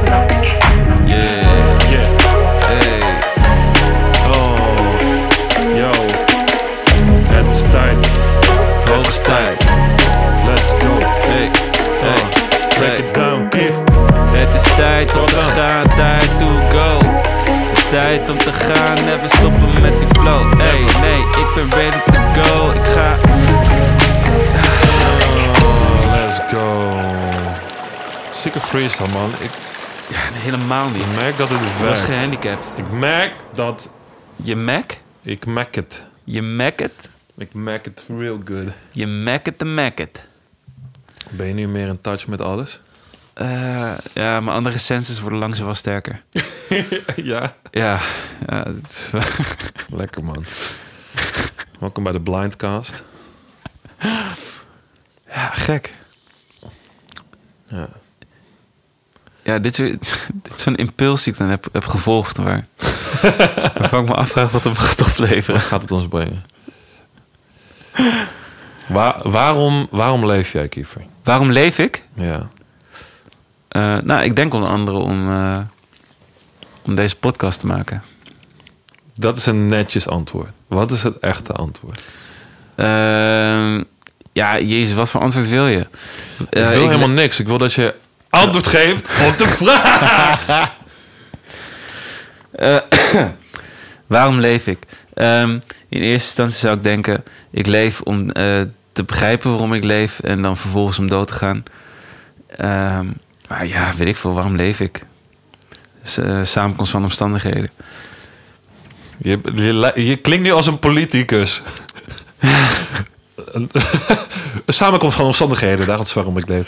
oh, it down, if Het is tijd om te gaan, tijd to go. Het is tijd om te gaan, never stoppen met die flow. Hey, nee, ik ben ready to go. Ik ga. Oh, let's go. Sikke freestyle, man. Ik Ja, helemaal niet. merk dat het Je was werkt. gehandicapt. Ik merk dat... Je Mac? Ik mek het. Je Mac het? Ik mek het real good. Je Mac het de Mac het. Ben je nu meer in touch met alles? Eh, ja, mijn andere senses worden langzaam wel sterker. ja. Ja, ja het is- Lekker, man. Welkom bij de Blindcast. ja, gek. Ja. Ja, dit, is- dit is zo'n impuls die ik dan heb, heb gevolgd. Waar, waarvan ik me afvraag wat het me gaat opleveren. Gaat het ons brengen? Waar, waarom, waarom leef jij, Kiefer? Waarom leef ik? Ja. Eh, nou, ik denk onder andere om, eh, om deze podcast te maken. Dat is een netjes antwoord. Wat is het echte antwoord? Ehm, ja, jezus, wat voor antwoord wil je? Eh, ik wil helemaal niks. Ik wil dat je antwoord geeft op de vraag. Eh, Waarom leef ik? Ehm, in eerste instantie zou ik denken: ik leef om eh, te begrijpen waarom ik leef en dan vervolgens om dood te gaan. Ehm, maar ja, weet ik veel, waarom leef ik? Dus, eh, samenkomst van omstandigheden. Je, je, li- je klinkt nu als een politicus. een samenkomst van omstandigheden. Daarom is waarom ik leef.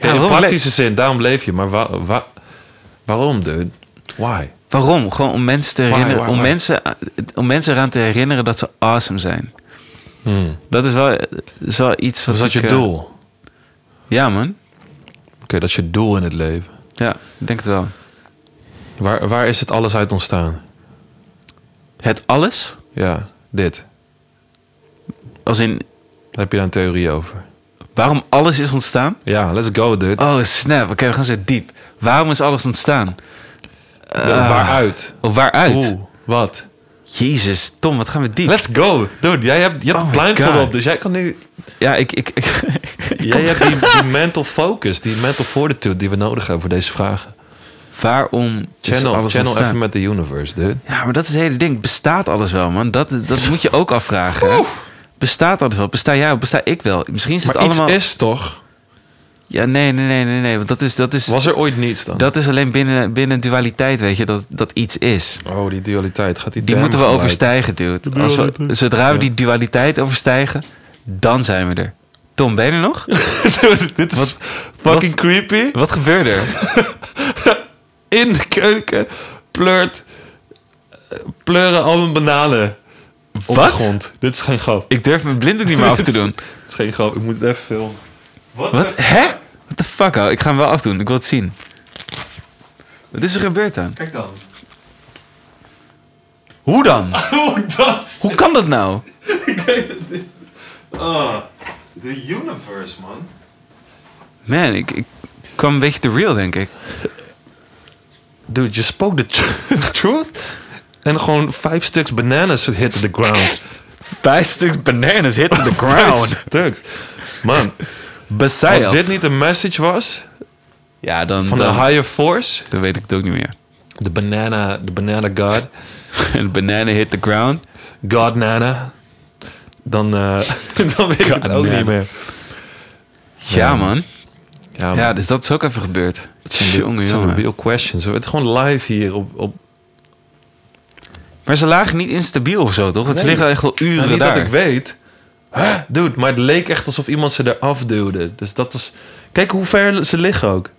Ja, in waarom praktische zin, daarom leef je. Maar wa- wa- waarom, dude? Why? Waarom? Gewoon om mensen te herinneren. why, Om, why? mensen, eh, om mensen eraan te herinneren dat ze awesome zijn. Hmm. Dat is wel, is wel iets wat. Was dat ik, je eh, doel? Oké, ja, man. dat is je doel in het leven. Ja, ik denk het wel. Waar, waar is het alles uit ontstaan? Het alles, Ja, dit. als in Daar heb je daar een theorie over. waarom alles is ontstaan. Ja, let's go, dude. Oh, snap. Oké, we gaan zo diep. Waarom is alles ontstaan? De- Ah. waaruit? Of waaruit? Hoe? Wat? Jezus, Tom, wat gaan we diep? Let's go. Dude, jij hebt, je hebt Oh my blindfold God. op, dus jij kan nu... Ja, ik... ik, ik Jij hebt die, die mental focus, die mental fortitude die we nodig hebben voor deze vragen. Waarom is Channel, alles channel ontstaan? even met de universe, dude. Ja, maar dat is het hele ding. Bestaat alles wel, man? Dat, dat moet je ook afvragen. hè? Bestaat alles wel? Besta jij? ook? Besta ik wel? Misschien is het Maar allemaal... iets is toch? Ja, nee, nee, nee, nee, nee. Want dat is, dat is, Was er ooit niets dan? dat is alleen binnen, binnen dualiteit, weet je, dat, dat iets is. Oh, die dualiteit. Gaat die Die damn moeten we gelijk. overstijgen, dude. Als we, zodra we die dualiteit overstijgen, dan zijn we er. Tom, ben je er nog? Dude, Dit is Wat- fucking wat- creepy. Wat gebeurde er? In de keuken pleurt, pleuren al mijn bananen op de Wat? grond. Dit is geen grap. Ik durf mijn blind ook niet meer af te doen. Het is geen grap, ik moet het even filmen. Wat? Hè? What the fuck, hou? Ik ga hem wel afdoen. Ik wil het zien. Wat is er gebeurd dan? Kijk dan. Hoe dan? Hoe dat? Hoe kan dat nou? Ik weet het niet. Ah, the universe, man. Man, ik, ik kwam een beetje te real, denk ik. Dude, je spoke the tr- truth. En gewoon vijf stuks bananas hitten the ground. Vijf stuks bananas hit the Vijf stuks. Man, Beside als dit niet een message was Ja, dan, van dan, de higher force, dan weet ik het ook niet meer. de banana, de banana god, Een banana hit the ground. god nana, dan, eh, dan weet ik het God ook nana. niet meer. Ja, man. Ja, Ja, dus dat is ook even gebeurd. Jongen, het zijn jongen. real questions. We werden gewoon live hier op, op Maar ze lagen niet instabiel of zo, toch? Want ze Nee. liggen echt al uren Nou, niet daar. dat ik weet. Huh? Dude, maar het leek echt alsof iemand ze eraf duwde. Dus dat was... Kijk hoe ver ze liggen ook.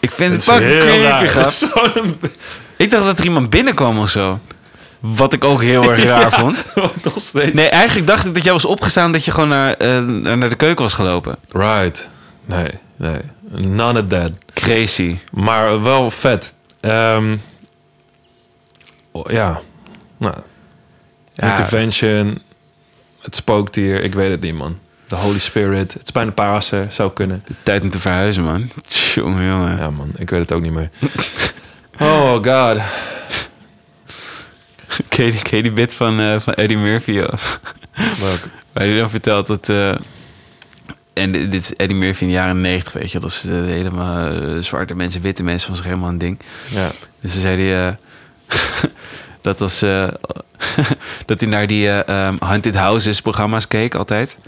Ik vind het fucking creepy, gast. Zo'n- Ik dacht dat er iemand binnenkwam of zo. Wat ik ook heel erg raar vond. Nog steeds. Nee, eigenlijk dacht ik dat jij was opgestaan dat je gewoon naar, eh, naar de keuken was gelopen. Right. Nee, nee. None of that. Crazy. Maar wel vet. Ehm, oh, ja. Nou. Ja. Intervention. Het spookdier. Ik weet het niet, man. De Holy Spirit. Het is bijna Pasen. Zou kunnen. Tijd om te verhuizen, man. Tjonge, jongen. Ja, man. Ik weet het ook niet meer. Oh, god. Ken, je, ken je die bit van, eh, van Eddie Murphy? joh? Welke? Waar hij dan vertelt dat... eh, en dit dit is Eddie Murphy in de jaren 90, weet je. wel. Dat is eh, helemaal eh, zwarte mensen, witte mensen, was er helemaal een ding. Ja. Dus ze zei die, eh, dat was eh, dat hij naar die eh, ehm, Haunted Houses programma's keek altijd.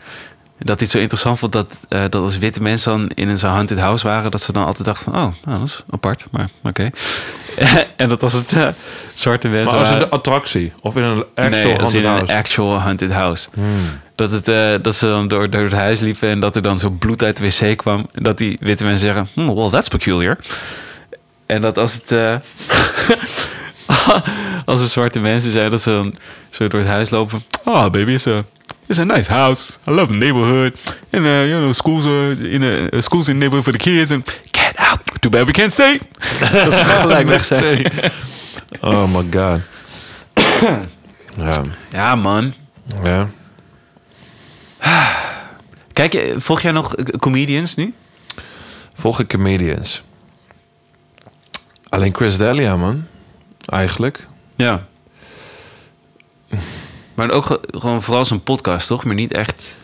Dat hij het zo interessant vond dat, eh, dat als witte mensen dan in een zo'n haunted house waren, dat ze dan altijd dachten van, oh, nou, dat is apart, maar oké. en dat was het eh, zwarte mensen. Maar als het waren- een attractie of in een actual Hmm. nee, als in haunted een house. actual haunted house. Dat, het, eh, dat ze dan door, door het huis liepen en dat er dan zo bloed uit de wc kwam. En dat die witte mensen zeggen, hmm, well, that's peculiar. En dat als het... eh, als er zwarte mensen zijn, dat ze dan zo door het huis lopen. Oh, baby, it's a, it's a nice house. I love the neighborhood. And, uh, you know, schools, are in a, uh, schools in the neighborhood for the kids. And get out. Too bad we can't stay. dat ze gelijk weg zijn. Oh my god. ja. Ja, man. ja. Kijk, eh, volg jij nog eh, comedians nu? Volg ik comedians. Alleen Chris Delia, man. Eigenlijk. Ja. Maar ook ge- gewoon vooral zijn podcast, toch? Maar niet echt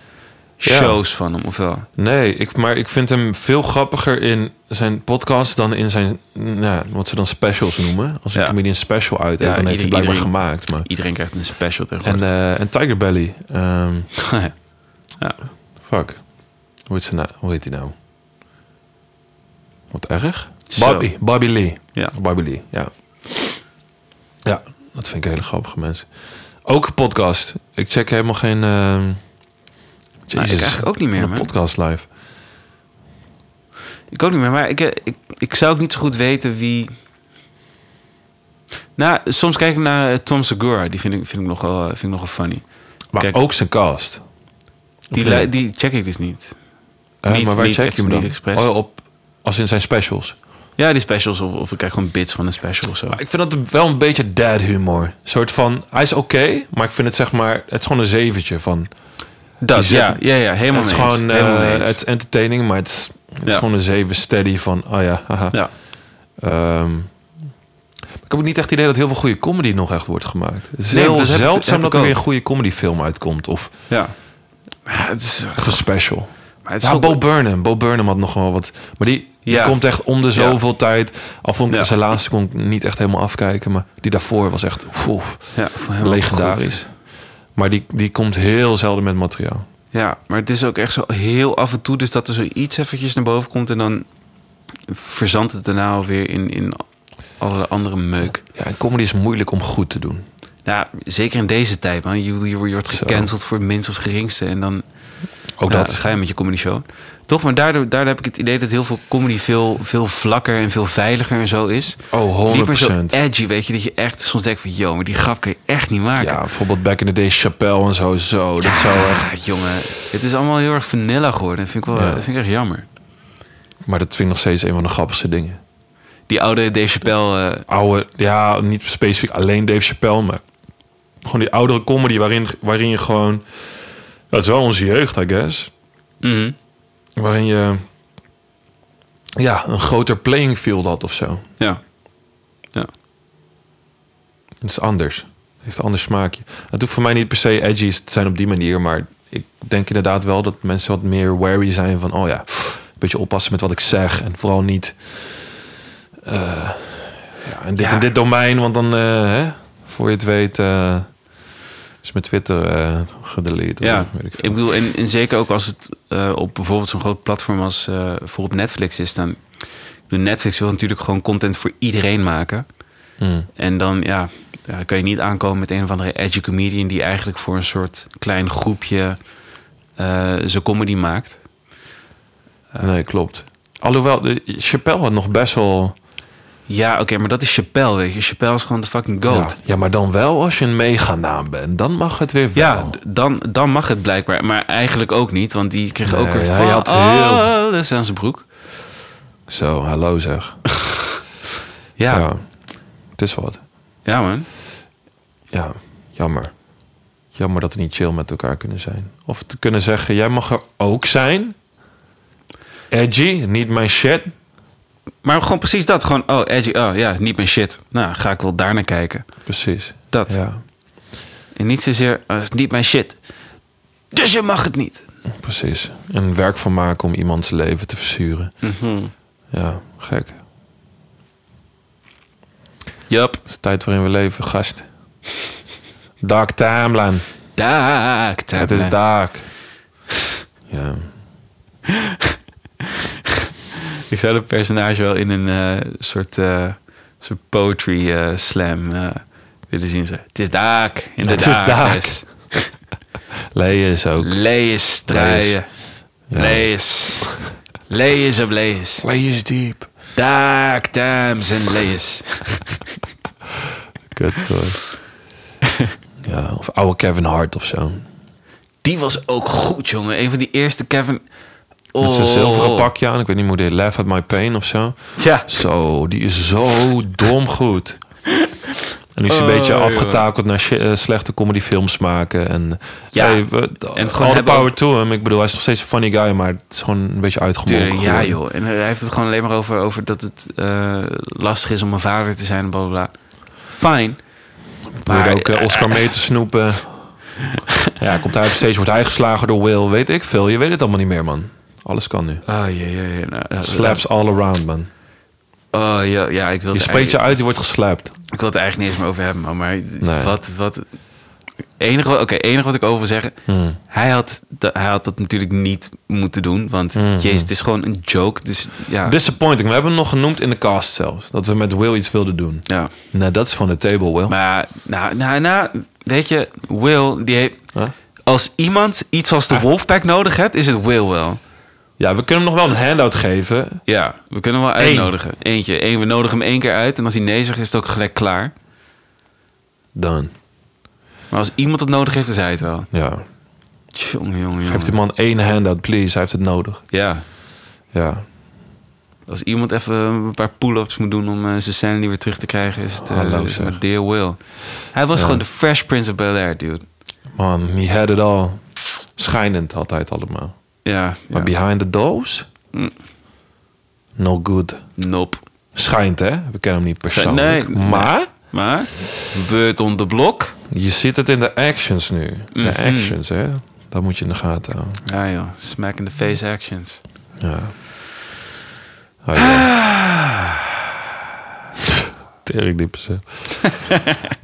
Ja. shows van hem, of wel? Nee, ik, maar ik vind hem veel grappiger in zijn podcast dan in zijn, nou, ja, wat ze dan specials noemen. Als een Ja. comedian special uit, Ja, heeft, dan heeft hij ieder- blijkbaar iedereen- gemaakt. Maar. Iedereen krijgt een special En, tegenwoordig. eh, en Tiger Belly. ehm, ja. fuck. Hoe heet, ze nou? Hoe heet hij nou? Wat erg? Zo. Bobby, Bobby Lee. Ja. Bobby Lee, ja. Ja, dat vind ik hele grappige mensen. Ook podcast. Ik check helemaal geen... ehm Nou, ik eigenlijk ook niet meer, een man. podcast live. Ik ook niet meer, maar ik, eh, ik, ik zou ook niet zo goed weten wie... Nou, soms kijk ik naar eh, Tom Segura. Die vind ik, vind ik, nog, wel, eh, vind ik nog wel funny. Maar Kijk. ook zijn cast. Die, nee? li- die check ik dus niet. Eh, Niet- maar waar niet check ex- je hem dan? niet expres. Oh, op, als in zijn specials. Ja, die specials. Of, of ik kijk gewoon bits van een special of zo. Maar ik vind dat wel een beetje dad humor. Een soort van, hij is oké, maar ik vind het zeg maar... Het is gewoon een zeventje van... Dat, die ja, zet- ja, ja, helemaal het is mee eens. gewoon Helemaal eh, mee eens. het is entertaining, maar het is, het is Ja. gewoon een zeven steady van... Oh ja, haha. Ja. Ehm, ik heb ook niet echt het idee dat heel veel goede comedy nog echt wordt gemaakt. Het is Nee, heel dat heb ik- zeldzaam heb dat ik er weer een ook. goede comedyfilm uitkomt. Of Ja. Maar het is, echt een special. maar het is Ja, toch- Bo Burnham. Bo Burnham had nog wel wat. Maar die, die Ja. komt echt om de zoveel tijd. Al vond ik Ja. zijn laatste kon ik niet echt helemaal afkijken. Maar die daarvoor was echt oef, Ja, voor hem ook legendarisch. goed. Maar die, die komt heel zelden met materiaal. Ja, maar het is ook echt zo heel af en toe dus dat er zoiets eventjes naar boven komt en dan verzandt het daarna alweer in, in allerlei andere meuk. Ja, en comedy is moeilijk om goed te doen. Ja, zeker in deze tijd, man. Je, je, je wordt Zo. gecanceld voor het minst of geringste en dan Ook ja, dat. ga je met je comedy show. Toch, maar daardoor, daardoor heb ik het idee dat heel veel comedy veel, veel vlakker en veel veiliger en zo is. Oh, 100%. Niet meer zo edgy, weet je, dat je echt soms denkt van, yo, maar die grap kun je echt niet maken. Ja, bijvoorbeeld Back in the Day, Chappelle en zo. zo. Dat zou echt... Ah, jongen, het is allemaal heel erg vanilla geworden. Dat vind ik wel, Ja. dat vind ik echt jammer. Maar dat vind ik nog steeds een van de grappigste dingen. Die oude Dave Chappelle, eh, Oude, ja, niet specifiek alleen Dave Chappelle, maar gewoon die oudere comedy waarin, waarin je gewoon... Dat is wel onze jeugd, I guess. mhm. Waarin je ja, een groter playing field had of zo. ja. ja. Het is anders. Het heeft een ander smaakje. Het hoeft voor mij niet per se edgy te zijn op die manier, maar ik denk inderdaad wel dat mensen wat meer wary zijn van, oh ja, pff, een beetje oppassen met wat ik zeg en vooral niet eh, ja, in, dit, Ja. in dit domein, want dan, eh, hè, voor je het weet, eh, is mijn Twitter eh gedelete. of ja. weet ik Ik veel. bedoel, en, en zeker ook als het eh, op bijvoorbeeld zo'n groot platform als eh, voor op Netflix is, dan... ik bedoel, Netflix wil natuurlijk gewoon content voor iedereen maken. Mm. En dan, ja, daar kan je niet aankomen met een of andere edgy comedian... die eigenlijk voor een soort klein groepje eh zijn comedy maakt. Nee, klopt. Alhoewel, de- Chappelle had nog best wel... Ja, oké, maar dat is Chappelle, weet je. Chappelle is gewoon de fucking goat. Ja, ja, maar dan wel als je een meganaam bent. Dan mag het weer wel. Ja, d- dan, dan mag het blijkbaar. Maar eigenlijk ook niet, want die kreeg ook Nee, weer hij had heel- alles aan zijn broek. Zo, hallo zeg. Ja, Ja. ja. Het is wat. man. Ja, jammer. Jammer dat we niet chill met elkaar kunnen zijn. Of te kunnen zeggen, jij mag er ook zijn. Edgy, niet mijn shit. Maar gewoon precies dat. Gewoon, oh, edgy, oh ja, niet mijn shit. Nou, ga ik wel daar naar kijken. Precies. Dat. Ja. eh, En niet zozeer, oh, is niet mijn shit. Dus je mag het niet. precies. En werk van maken om iemands leven te verzuren. Mhm. Ja, gek. Yup. Het is de tijd waarin we leven, gast. Dark timeline. Daak. Het is dark. Ja. Ik zou dat personage wel in een eh, soort, eh, soort poetry eh, slam eh, willen zien. Ze. Het is daak. In de Het is daak. daak. Leeën is ook. Lees, strijden. Lees. Lees op lees. Leeën is diep. Daak, dames en lees. Kut, sorry. ja, of oude Kevin Hart of zo. Die was ook goed, jongen. Een van die eerste Kevin... Met zijn Oh. zilveren pakje aan. Ik weet niet hoe dit Laugh at My Pain of zo. Ja. Zo, die is zo dom goed. En nu is hij Oh, een beetje jongen. afgetakeld naar shi- eh, slechte comedyfilms maken. En Ja, hey, we- het gewoon all the hebben power over- to him. Ik bedoel, hij is nog steeds een funny guy, maar het is gewoon een beetje uitgemolken. Tuurlijk, ja geworden. joh. En hij heeft het gewoon alleen maar over, over dat het eh, lastig is om een vader te zijn en bla bla bla. Fijn. Probeerde Maar- ook eh, Oscar mee te snoepen. ja, komt hij op steeds, wordt hij geslagen door Will. Weet ik veel, je weet het allemaal niet meer, man. Alles kan nu. Oh jee, jee, jee. Nou, eh, Slaps all around, man. Oh ja, ja ik wil Je het spreekt je eigenlijk- uit, je wordt geslapt. Ik wil het eigenlijk niet eens meer over hebben, man, maar Nee. wat... wat enige, Oké, enige wat ik over wil zeggen. Hmm. Hij had, da- hij had dat natuurlijk niet moeten doen. Want Hmm. jezus, het is gewoon een joke. Dus ja. Disappointing. We hebben hem nog genoemd in de cast zelfs. Dat we met Will iets wilden doen. ja. Nou, dat is van de table, Will. Maar nou, nou, nou, weet je, Will, die heeft, Huh? als iemand iets als de Wolfpack nodig hebt, is het Will wel. Ja, we kunnen hem nog wel een handout geven. Ja, we kunnen hem wel Eén. uitnodigen. Eentje. Eén, we nodigen hem één keer uit. En als hij nee zegt, is het ook gelijk klaar. Dan. Maar als iemand het nodig heeft, is hij het wel. Ja. Jongen, jongen, jongen. Geef die man één handout, please. Hij heeft het nodig. Ja. Ja. Als iemand even een paar pull-ups moet doen om eh, zijn sanity weer terug te krijgen, is het eh, Hallo, is het zeg. maar Dear Will. Hij was gewoon de Fresh Prince of Bel-Air, dude. Man, he had it all. Schijnend altijd allemaal. Ja. Maar ja. behind the doors? Mm. No good. Nope. Schijnt, hè? We kennen hem niet persoonlijk. nee. maar Maar, beurt on the blok. je ziet het in de actions nu. Mhm. De actions, hè? Dat moet je in de gaten houden. Ja joh, smack in the face actions. Ja. Oh, ja. Tering diepe zin.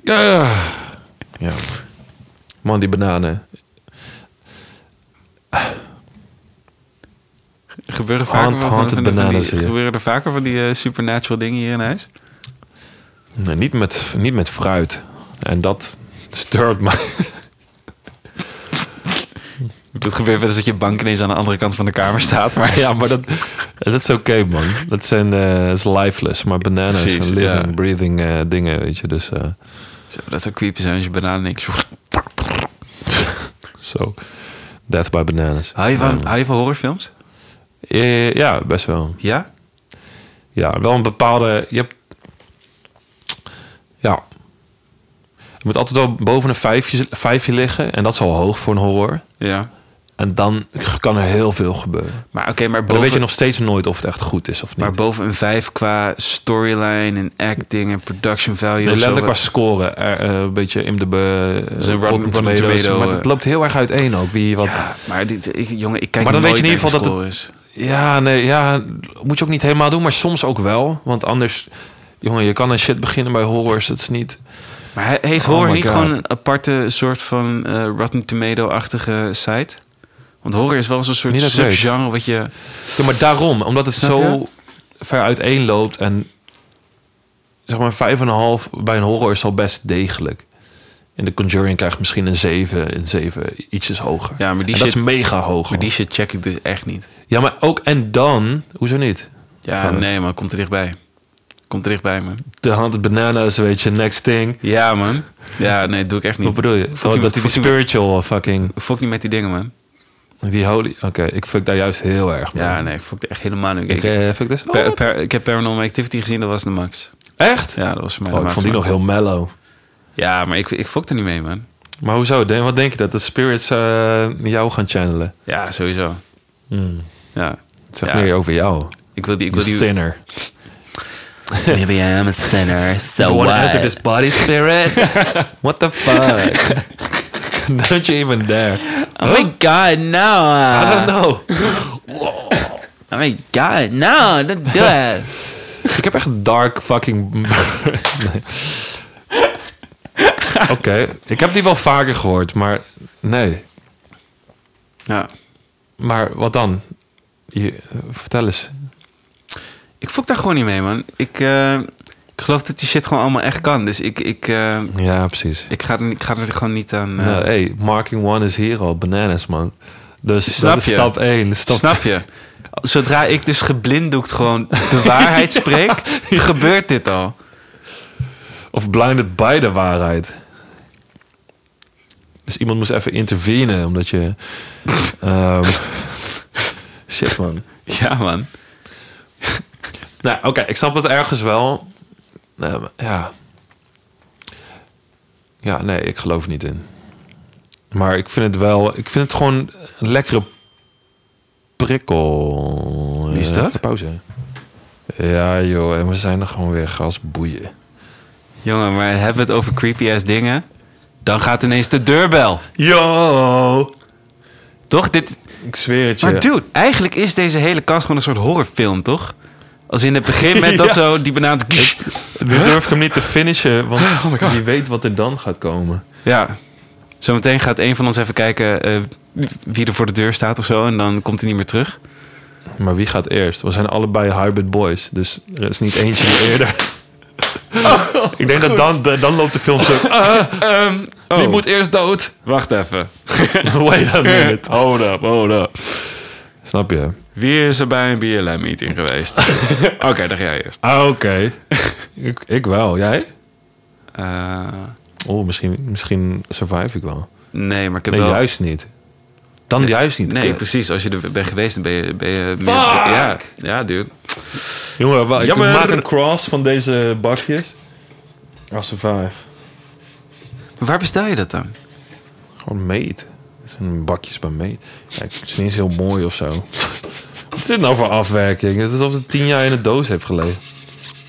ja. ja. Man, die bananen. Gebeuren, vaker Hand- van, van, hand van, het van die, bananen, zie je. gebeuren er vaker van die eh, supernatural dingen hier in huis? Nee, niet, met, niet met fruit. En dat stört me. Dat gebeurt wel eens dat je bank ineens aan de andere kant van de kamer staat. Maar ja, maar dat, dat is oké, man. Dat, zijn, eh, dat is lifeless. Maar bananen Precies, zijn living, ja. breathing eh, dingen, weet je. Dus eh, Zo, dat zou creepy zijn als je bananen niks... zo. Death by bananas. Hou je van, hou je van horrorfilms? Eh, ja, best wel. Ja? Ja, wel een bepaalde. Je hebt. Ja. Je moet altijd wel boven een vijfje, vijfje liggen. En dat is al hoog voor een horror. Ja. En dan kan er heel veel gebeuren. Maar Maar oké, maar dan boven... weet je nog steeds nooit of het echt goed is of niet. Maar boven een 5 qua storyline en acting en production value. Nee, of zo, letterlijk wat- qua scoren. Eh, eh, een beetje in de. Be, eh, Zo'n Rotten- Rotten Rotten Tomato, maar eh. het loopt heel erg uiteen ook. Wie wat. Ja, Ja, maar dit, ik, jongen, ik kijk Maar dan nooit weet je in ieder naar geval de scores. nee, ja. Moet je ook niet helemaal doen, maar soms ook wel. Want anders. Jongen, je kan een shit beginnen bij horrors. Dat is niet. Maar he- heeft Oh Horror my niet God. gewoon een aparte soort van eh, Rotten Tomato-achtige site? Want Horror is wel zo'n soort Niet dat ik weet. subgenre wat je... Ja, maar daarom, omdat het Snap zo ver uiteen loopt en zeg maar vijf en een half bij een horror is al best degelijk. En de Conjuring krijgt misschien een 7, een 7 ietsjes hoger. Ja, maar die En dat shit- is mega hoog. Maar die man. shit check ik dus echt niet. Ja, maar ook en dan, hoezo niet? Ja, Gewoon. nee man, komt er dichtbij. Komt er dichtbij, man. De hand bananas, weet je, next thing. Ja, man. Ja, nee, doe ik echt niet. Wat bedoel je? Fuck Oh, niet dat met- die fuck niet met- spiritual fucking Fuck niet met die dingen, man. die holy. Oké, ik fuck daar juist heel erg mee. Ja, nee, ik fuck er echt helemaal niet. mee. ik Ik, eh, fuck this. per- Oh, per- ik heb Paranormal Activity gezien, dat was de max. echt? Ja, dat was voor mij Oh, de ik max. vond die nog man. heel mellow. Ja, maar ik, ik fok er niet mee, man. Maar hoezo? Dan- Wat denk je dat de spirits eh, jou gaan channelen? Ja, sowieso. Ja. Het Ja. zegt Hmm. meer over jou. Ik wil die... Ik Ik wil die... thinner. Maybe I am a sinner, so body, spirit? what the fuck? Not even Ah. there. Oh my god, no. I don't know. Oh my god, no, don't do it. Ik heb echt dark fucking... Nee. Oké, ik heb die wel vaker gehoord, maar nee. ja. Maar wat dan? Je, eh, vertel eens. Ik fok daar gewoon niet mee, man. Ik, eh, ik geloof dat die shit gewoon allemaal echt kan. Dus ik, ik, eh, Ja, precies. ik, ga, er, niet- ik ga er gewoon niet aan... eh, Nou, hey, marking one is hier al. Bananas, man. Dus Snap dat is je? stap 1. Stap Snap je? Zodra ik dus geblinddoekt gewoon de waarheid spreek, gebeurt dit al. Of blinded by de waarheid. Dus iemand moest even intervenen, omdat je... ehm, shit, man. Ja, man. Nou, oké, ik snap het ergens wel. Nee, maar- ja. Ja, nee, ik geloof niet in. Maar ik vind het wel... Ik vind het gewoon een lekkere prikkel. Wie is Eh, dat? even pauze. Ja, joh. En we zijn er gewoon weer als boeien. Jongen, maar hebben we het over creepy-ass dingen? Dan gaat ineens de deurbel. Yo! Toch? Dit... Ik zweer het je. Maar dude, eigenlijk is deze hele kast gewoon een soort horrorfilm, toch? Als in het begin met dat Ja. zo, die benaamt... Nu durf ik hem niet te finishen, want Oh my God. wie weet wat er dan gaat komen. Ja. Zometeen gaat een van ons even kijken eh, wie er voor de deur staat of zo. En dan komt hij niet meer terug. Maar wie gaat eerst? We zijn allebei hybrid boys, dus er is niet eentje die eerder. ik denk dat dan, de- dan loopt de film zo. Ah, oh, Wie moet eerst dood? wacht even. Wait a minute. Hold up, hold up. Snap je? Wie is er bij een BLM-meeting geweest? Oké, dan ga jij eerst. Ah, oké. ik, ik wel. Jij? Eh, Oh, misschien, misschien survive ik wel. nee, maar ik heb Nee, wel... juist niet. Dan juist niet. Eh, Nee, Kut. precies. Als je er bent geweest, dan ben je... Ben je meer- Fuck! ja, ja, dude. Jongen, wa- ik Jammer. maak een cross van deze bakjes. Ah, survive. Maar waar bestel je dat dan? Gewoon meet. Het zijn bakjes bij meet. Kijk, het is niet eens heel mooi of zo. Wat is dit nou voor afwerking? Het is alsof het tien jaar in een doos heeft gelegen.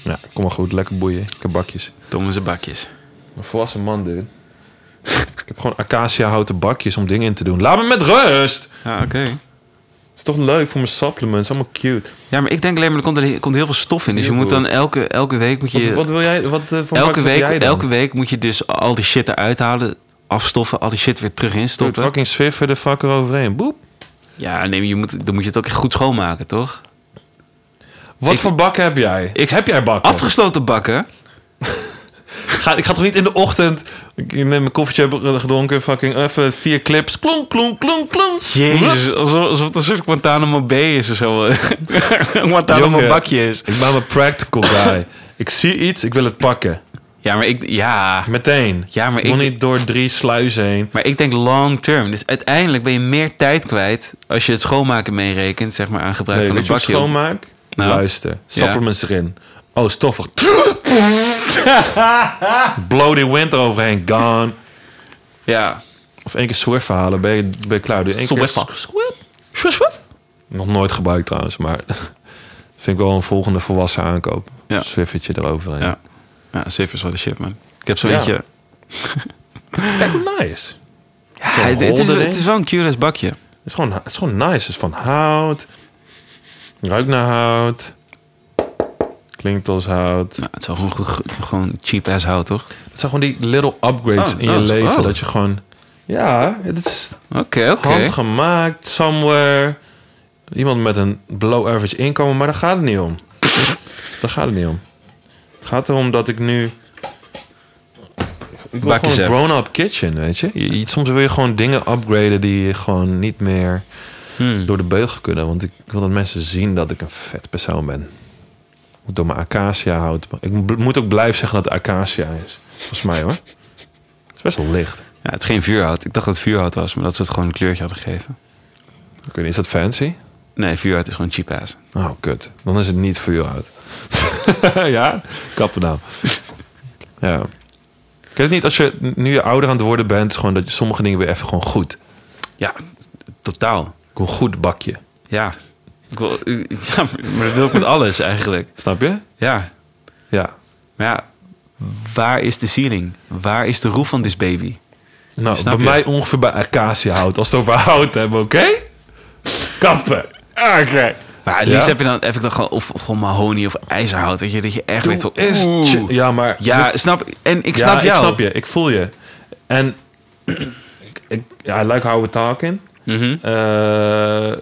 Ja, kom maar goed. Lekker boeien. Ik heb bakjes. Domme zijn bakjes. Een volwassen man, dude. Ik heb gewoon acacia-houten bakjes om dingen in te doen. Laat me met rust! Ja, Ah, oké. Het is toch leuk voor mijn supplements. Allemaal cute. Ja, maar ik denk alleen maar er komt, er komt heel veel stof in. Dus je Heel moet goed. dan elke, elke week... Moet Wat, je, wat wil jij? Wat eh, voor elke, week, jij dan? elke week moet je dus al die shit eruit halen, afstoffen, al die shit weer terug Doe instoppen. fucking swiffer de fucker overheen. Boep. Ja, nee, maar je moet, dan moet je het ook echt goed schoonmaken, toch? Wat Ik- voor bakken heb jij? Ik- heb jij bakken? Afgesloten bakken? Ga, ik ga toch niet in de ochtend. Ik neem mijn koffietje heb gedronken. Fucking even vier clips. Klonk, klonk, klonk, klonk. Jezus, alsof, alsof het een soort Guantanamo B is of zo. een Guantanamo Jongen. bakje is. Ik ben een practical guy. ik zie iets, ik wil het pakken. Ja, maar ik... Ja... Meteen. Ja, maar ik wil ik- niet door drie sluizen heen. Maar ik denk long term. Dus uiteindelijk ben je meer tijd kwijt als je het schoonmaken meerekent, zeg maar, aan gebruik Nee, van weet een je wat ik bakje. schoonmaak? Nou. Luister. Ja. Supplements erin. Oh, stoffig. Blow die wind eroverheen. Gone. Ja. Of één keer Swift halen. Ben je, ben je klaar? Doe één keer Zwift. Zwift, zwift. Nog nooit gebruikt trouwens, maar vind ik wel een volgende volwassen aankoop. Ja. Ja. Swiffertje eroverheen. Ja. Ja, zeven is wel de shit, man. Ik heb zo'n Ja. eentje... Kijk hoe nice. Ja, Zo'n het, het is, holdering. het is wel een curious bakje. Het is gewoon, het is gewoon nice. Het is van hout. Ruikt naar hout. Klinkt als hout. Nou, het is wel gewoon, goed- gewoon cheap ass hout, toch? Het zijn gewoon die little upgrades Oh, in je nice. leven. Oh. Dat je gewoon... Ja, het is Oké, oké. handgemaakt, somewhere. Iemand met een below average inkomen, maar daar gaat het niet om. daar gaat het niet om. Het gaat erom dat ik nu... Ik wil Bakjes gewoon hebt. een grown-up kitchen, weet je? Je- je- Soms wil je gewoon dingen upgraden die je gewoon niet meer Hmm. door de beugel kunnen. Want ik wil dat mensen zien dat ik een vet persoon ben. Moet door mijn acacia hout. Ik m- moet ook blijven zeggen dat het acacia is. Volgens mij hoor. Het is best wel licht. Ja, het is geen vuurhout. Ik dacht dat het vuurhout was, maar dat ze het gewoon een kleurtje hadden gegeven. Ik weet niet, is dat fancy? Nee, vuurhout is gewoon cheap ass. Oh, kut. Dan is het niet voor jou uit. ja? Kappen nou. ja. Ik weet het niet, als je nu je ouder aan het worden bent... is gewoon dat je sommige dingen weer even gewoon goed. Ja, totaal. Gewoon goed bakje. Ja. Ik wil, ja, maar dat wil ik met alles eigenlijk. Snap je? Ja. Ja. Maar ja, waar is de ceiling? Waar is de roof van this baby? Nou, Snap bij je? mij ongeveer bij acaciahout. Als we het over hout hebben, oké? Kappen. Ah, Oké. Maar het liefst Ja. heb, je dan, heb ik dan gewoon, of gewoon mahonie of ijzerhout. Weet je, dat je echt weet Doe van... eens oeh. chi- Ja, maar... Ja, dit- snap, en ik ja, snap jou. Ik snap je. Ik voel je. En... ik- ik, ja, I like how we're talking. Mhm. Eh,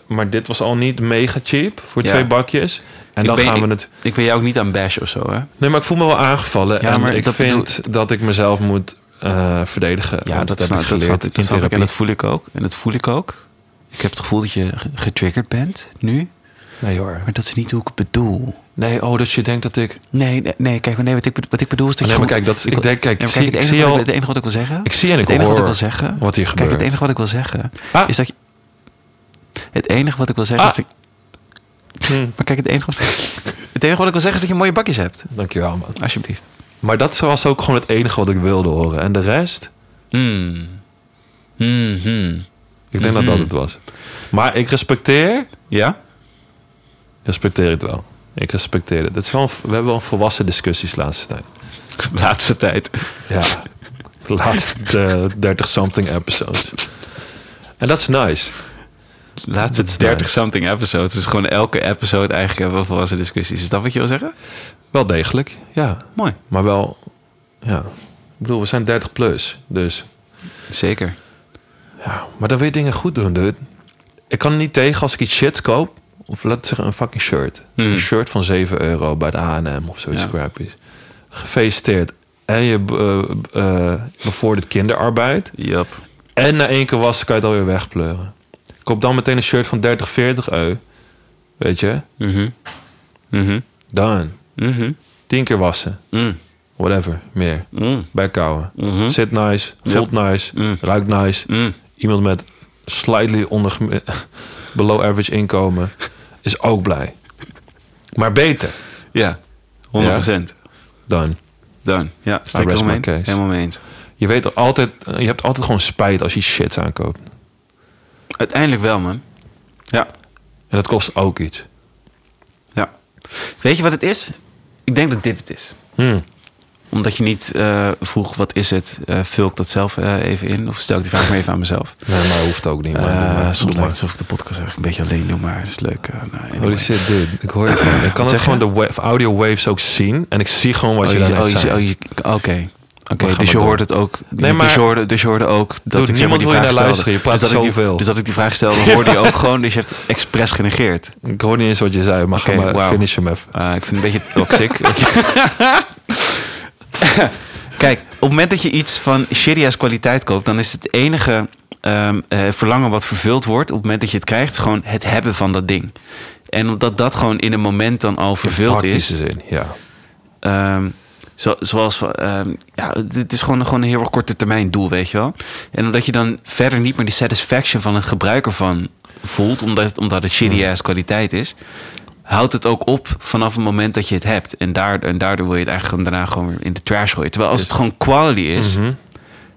maar dit was al niet mega cheap voor Ja. twee bakjes. En Ik dan ben- gaan we ik- het... Ik ben jou ook niet aan bash of zo, hè? Nee, maar ik voel me wel aangevallen. Ja, en maar ik dat vind dat ik mezelf moet eh, verdedigen. Ja, Want dat, snap, heb ik dat, geleerd snap, ik- dat in snap ik en therapie. dat voel ik ook. En dat voel ik ook. Ik heb het gevoel dat je ge- getriggerd bent nu. Nee hoor. Maar dat is niet hoe ik het bedoel. Nee, oh, dat je denkt dat ik... Nee, nee, nee kijk, nee, wat, ik, wat ik bedoel is dat Nee, je... maar gewoon- kijk, dat is- ik wil- denk- kijk, Nee, maar zie- het ik enige zie wat al- ik- het enige wat ik wil zeggen... Ik zie en ik Het enige wat ik wil hoor zeggen... wat hier gebeurt. Kijk, het enige wat ik wil zeggen... Ah. Is dat je... Het enige wat ik wil zeggen Ah. is dat... Maar kijk, het enige, wat, het enige wat ik wil zeggen is dat je mooie bakjes hebt. Dankjewel, man. Alsjeblieft. Maar dat was ook gewoon het enige wat ik wilde horen. En de rest, Hmm. Hmm, hmm. ik denk dat dat het was. Maar ik respecteer, Ja? respecteer het wel. Ik respecteer het. het is wel een- we hebben wel een volwassen discussies laatste tijd. Laatste tijd. Ja. De laatste 30-something episodes. En dat is nice. Laatste Dat is 30 something episodes. Dus gewoon elke episode eigenlijk hebben we volwassen discussies. Is dat wat je wil zeggen? Wel degelijk, ja. Mooi. Maar wel, ja. Ik bedoel, we zijn 30 plus, dus... Zeker. Ja, maar dan wil je dingen goed doen, dude. Ik kan er niet tegen als ik iets shit koop. Of laten we zeggen een fucking shirt. Hmm. Een shirt van 7 euro bij de H&M of zoiets Ja. crappies. Gefeliciteerd. En je eh, eh, bevordert kinderarbeid. Yep. En na één keer wassen kan je het alweer wegpleuren. Koop dan meteen een shirt van 30, 40 euro. Weet je? Mhm. Mhm. Done. Mhm. Tien keer wassen. Mm. Whatever. Meer. Mm. Bijkouwen. Mhm. Zit nice. Voelt nice. Mm. Ruikt nice. Mm. iemand met slightly onder below average inkomen is ook blij. Maar beter Ja. 100%. dan. Done. Ja, sta ik rest helemaal my mee- case. helemaal mee eens. Je weet er altijd, je hebt altijd gewoon spijt als je shit aankoopt. Uiteindelijk wel, man. Ja. En dat kost ook iets. Ja. Weet je wat het is? Ik denk dat dit het is. Hmm. Omdat je niet eh, vroeg, wat is het? Eh, vul ik dat zelf eh, even in? Of stel ik die vraag maar even aan mezelf? Nee, maar hoeft ook niet. Maar, doe Eh, maar. Doe soms maar. lijkt het alsof ik de podcast eigenlijk een beetje alleen doe, maar het is leuk. Eh, nou, anyway. Holy shit, dude. Ik hoor het gewoon. Ik kan Wat ook zeg je? gewoon de wa- audio waves ook zien. En ik zie gewoon wat Oh, je je- daarnet oh, je- zei. oh, je- Oké. Oké, gaan maar dus je door. hoort het ook. Nee, dus, maar- je hoorde, dus je hoorde ook dat ik zeg maar, niemand die wil vraag je naar stelde. luisteren. Je praat dus dat ik die- zoveel. dus dat ik die vraag stelde, hoorde je ook gewoon. Dus je hebt expres genegeerd. Ik hoor niet eens wat je zei, maar ga Oké, maar wauw. finish hem even. Ah, ik vind het een beetje toxic. Kijk, op het moment dat je iets van shitty ass kwaliteit koopt, dan is het enige ehm, eh, verlangen wat vervuld wordt op het moment dat je het krijgt, gewoon het hebben van dat ding. En omdat dat gewoon in een moment dan al vervuld is, Praktische zin, ja. Ehm, zo, zoals, van, ehm, ja, het is gewoon, gewoon een heel erg korte termijn doel, weet je wel. En omdat je dan verder niet meer die satisfaction van het gebruik ervan voelt, omdat, omdat het shitty Hmm. ass kwaliteit is, houdt het ook op vanaf het moment dat je het hebt. En, daar, en daardoor wil je het eigenlijk gewoon daarna gewoon weer in de trash gooien. Terwijl Dus als het gewoon quality is, Mhm.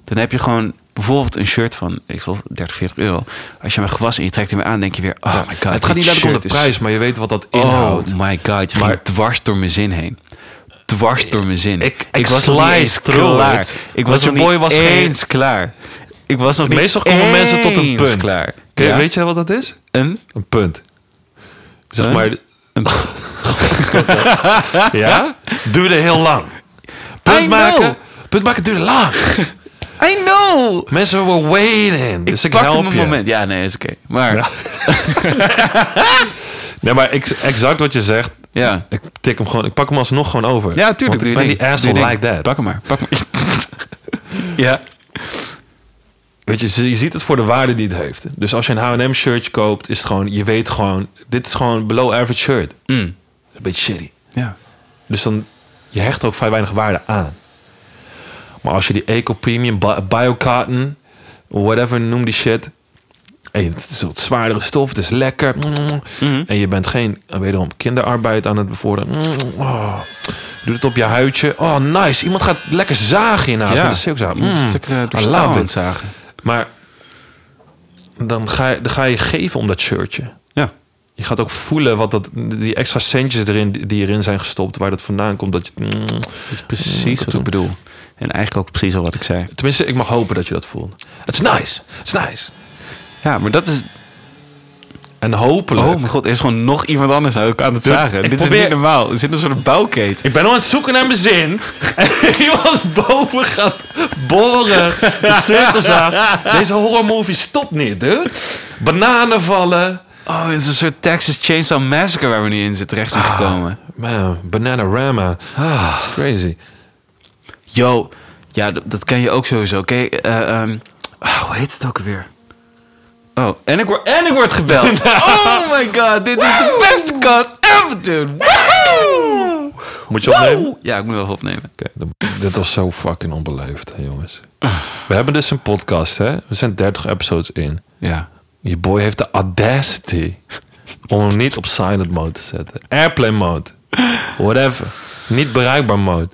dan heb je gewoon bijvoorbeeld een shirt van, ik wil 30, 40 euro. Als je hem hebt gewassen en je trekt hem aan, denk je weer, oh my god. het gaat dit niet letterlijk om de shirt is prijs, maar je weet wat dat inhoudt. Oh my god, je ging Maar- dwars door mijn zin heen. Dwars door mijn zin. Ik- ik nog niet slice eens through klaar. it. Ik Want was je nog boy niet was geen- eens klaar. Ik was nog niet Meestal komen mensen tot een eens punt. klaar. Ken je- Ja. Weet je wat dat is? Een, Een punt. Zeg Huh? maar... een Ja? Duurde heel lang. I Punt maken. know. Punt maken duurde lang. I know! Mensen were waiting. Dus ik, pakte help mijn je. moment. Ja, nee, is oké. Maar, ja. Ja. Nee, maar ik, exact wat je zegt. Ja, Ik tik hem gewoon. Ik pak hem alsnog gewoon over. tuurlijk. Want doe je ik ben ding. die Doe asshole je ding. like that. Pak hem maar. Pak hem. ja. Weet je, ze- je ziet het voor de waarde die het heeft. Dus als je een H&M shirtje koopt, is het gewoon... Je weet gewoon... Dit is gewoon below average shirt. Mm. Een beetje shitty. Ja. Dus dan, je hecht er ook vrij weinig waarde aan. Maar als je die Eco Premium, bi- Biocotton, whatever, noem die shit. Hey, het is wat zwaardere stof, het is lekker. Mhm. En je bent geen, eh, wederom, kinderarbeid aan het bevorderen. Mm, oh. Doe het op je huidje. Oh, nice. Iemand gaat lekker zagen in huis. Ja. Ja. Dat is ook zo. Mm, Een stuk eh, door I staal aan love het it. zagen. Maar dan ga, je, dan ga je geven om dat shirtje. Ja. je gaat ook voelen wat dat, die extra centjes erin, die erin zijn gestopt, waar dat vandaan komt. Dat je, mm, Dat is precies wat Mm, ik bedoel. En eigenlijk ook precies al wat ik zei. tenminste, ik mag hopen dat je dat voelt. Het is nice. Het is nice. Ja, maar dat is... En hopelijk. Oh mijn god, er is gewoon nog iemand anders ook aan het zagen. ik Dit probeer- is niet normaal. Er zit een soort bouwketen. Ik ben al aan het zoeken naar mijn zin. En iemand boven gaat boren. Een cirkelzaag. Deze horrormovie stopt niet, dude. Bananen vallen. Oh, het is een soort Texas Chainsaw Massacre waar we nu in zitten, rechts in gekomen. Man, Bananarama. Ah, is crazy. Yo, ja, d- dat ken je ook sowieso. Oké, Eh, ehm, ah, hoe heet het ook weer? Oh, en ik, word, en ik word gebeld. oh my god, dit is de beste cut ever, dude. Woehoe! Moet je opnemen? Woehoe! Ja, ik moet wel even opnemen. Oké, dan- Dit was zo fucking onbeleefd, hè, jongens. We hebben dus een podcast, hè? We zijn 30 episodes in. Ja. Je boy heeft de audacity om hem niet op silent mode te zetten. Airplane mode. Whatever. Niet bereikbaar mode.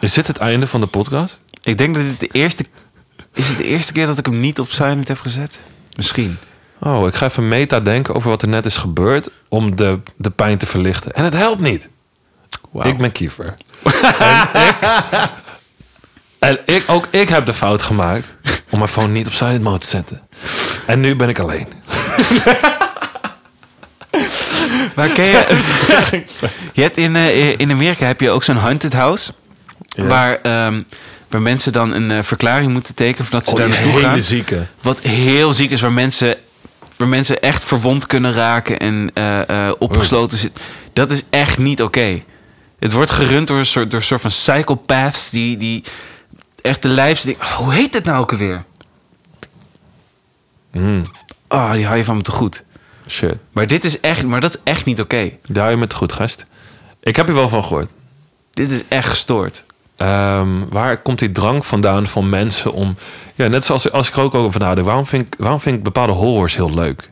Is dit het einde van de podcast? Ik denk dat dit de eerste... Is het de eerste keer dat ik hem niet op silent heb gezet? Misschien. Oh, ik ga even meta denken over wat er net is gebeurd om de, de pijn te verlichten. En het helpt niet. Wauw. Ik ben Kiefer. en, ik, en ik, ook ik heb de fout gemaakt om mijn phone niet op silent mode te zetten. En nu ben ik alleen. Waar ken je... je hebt in, eh, in Amerika heb je ook zo'n haunted house. Waar, ehm, waar mensen dan een eh, verklaring moeten tekenen voordat ze Oh, daar die naartoe hele gaan. zieke. Wat heel ziek is, waar mensen, waar mensen echt verwond kunnen raken en eh, eh, opgesloten zitten. Dat is echt niet oké. Het wordt gerund door een soort, door een soort van psychopaths die, die echt de lijpste dingen... hoe heet het nou ook alweer? Mm, Ah, die hou je van me te goed. shit. Maar dit is echt, maar dat is echt niet oké. Daar hou je met goed, gast. Ik heb hier wel van gehoord. Dit is echt gestoord. Ehm, waar komt die drang vandaan van mensen om... Ja, net zoals als ik er ook over nadenk. Waarom vind, ik, waarom vind ik bepaalde horrors heel leuk?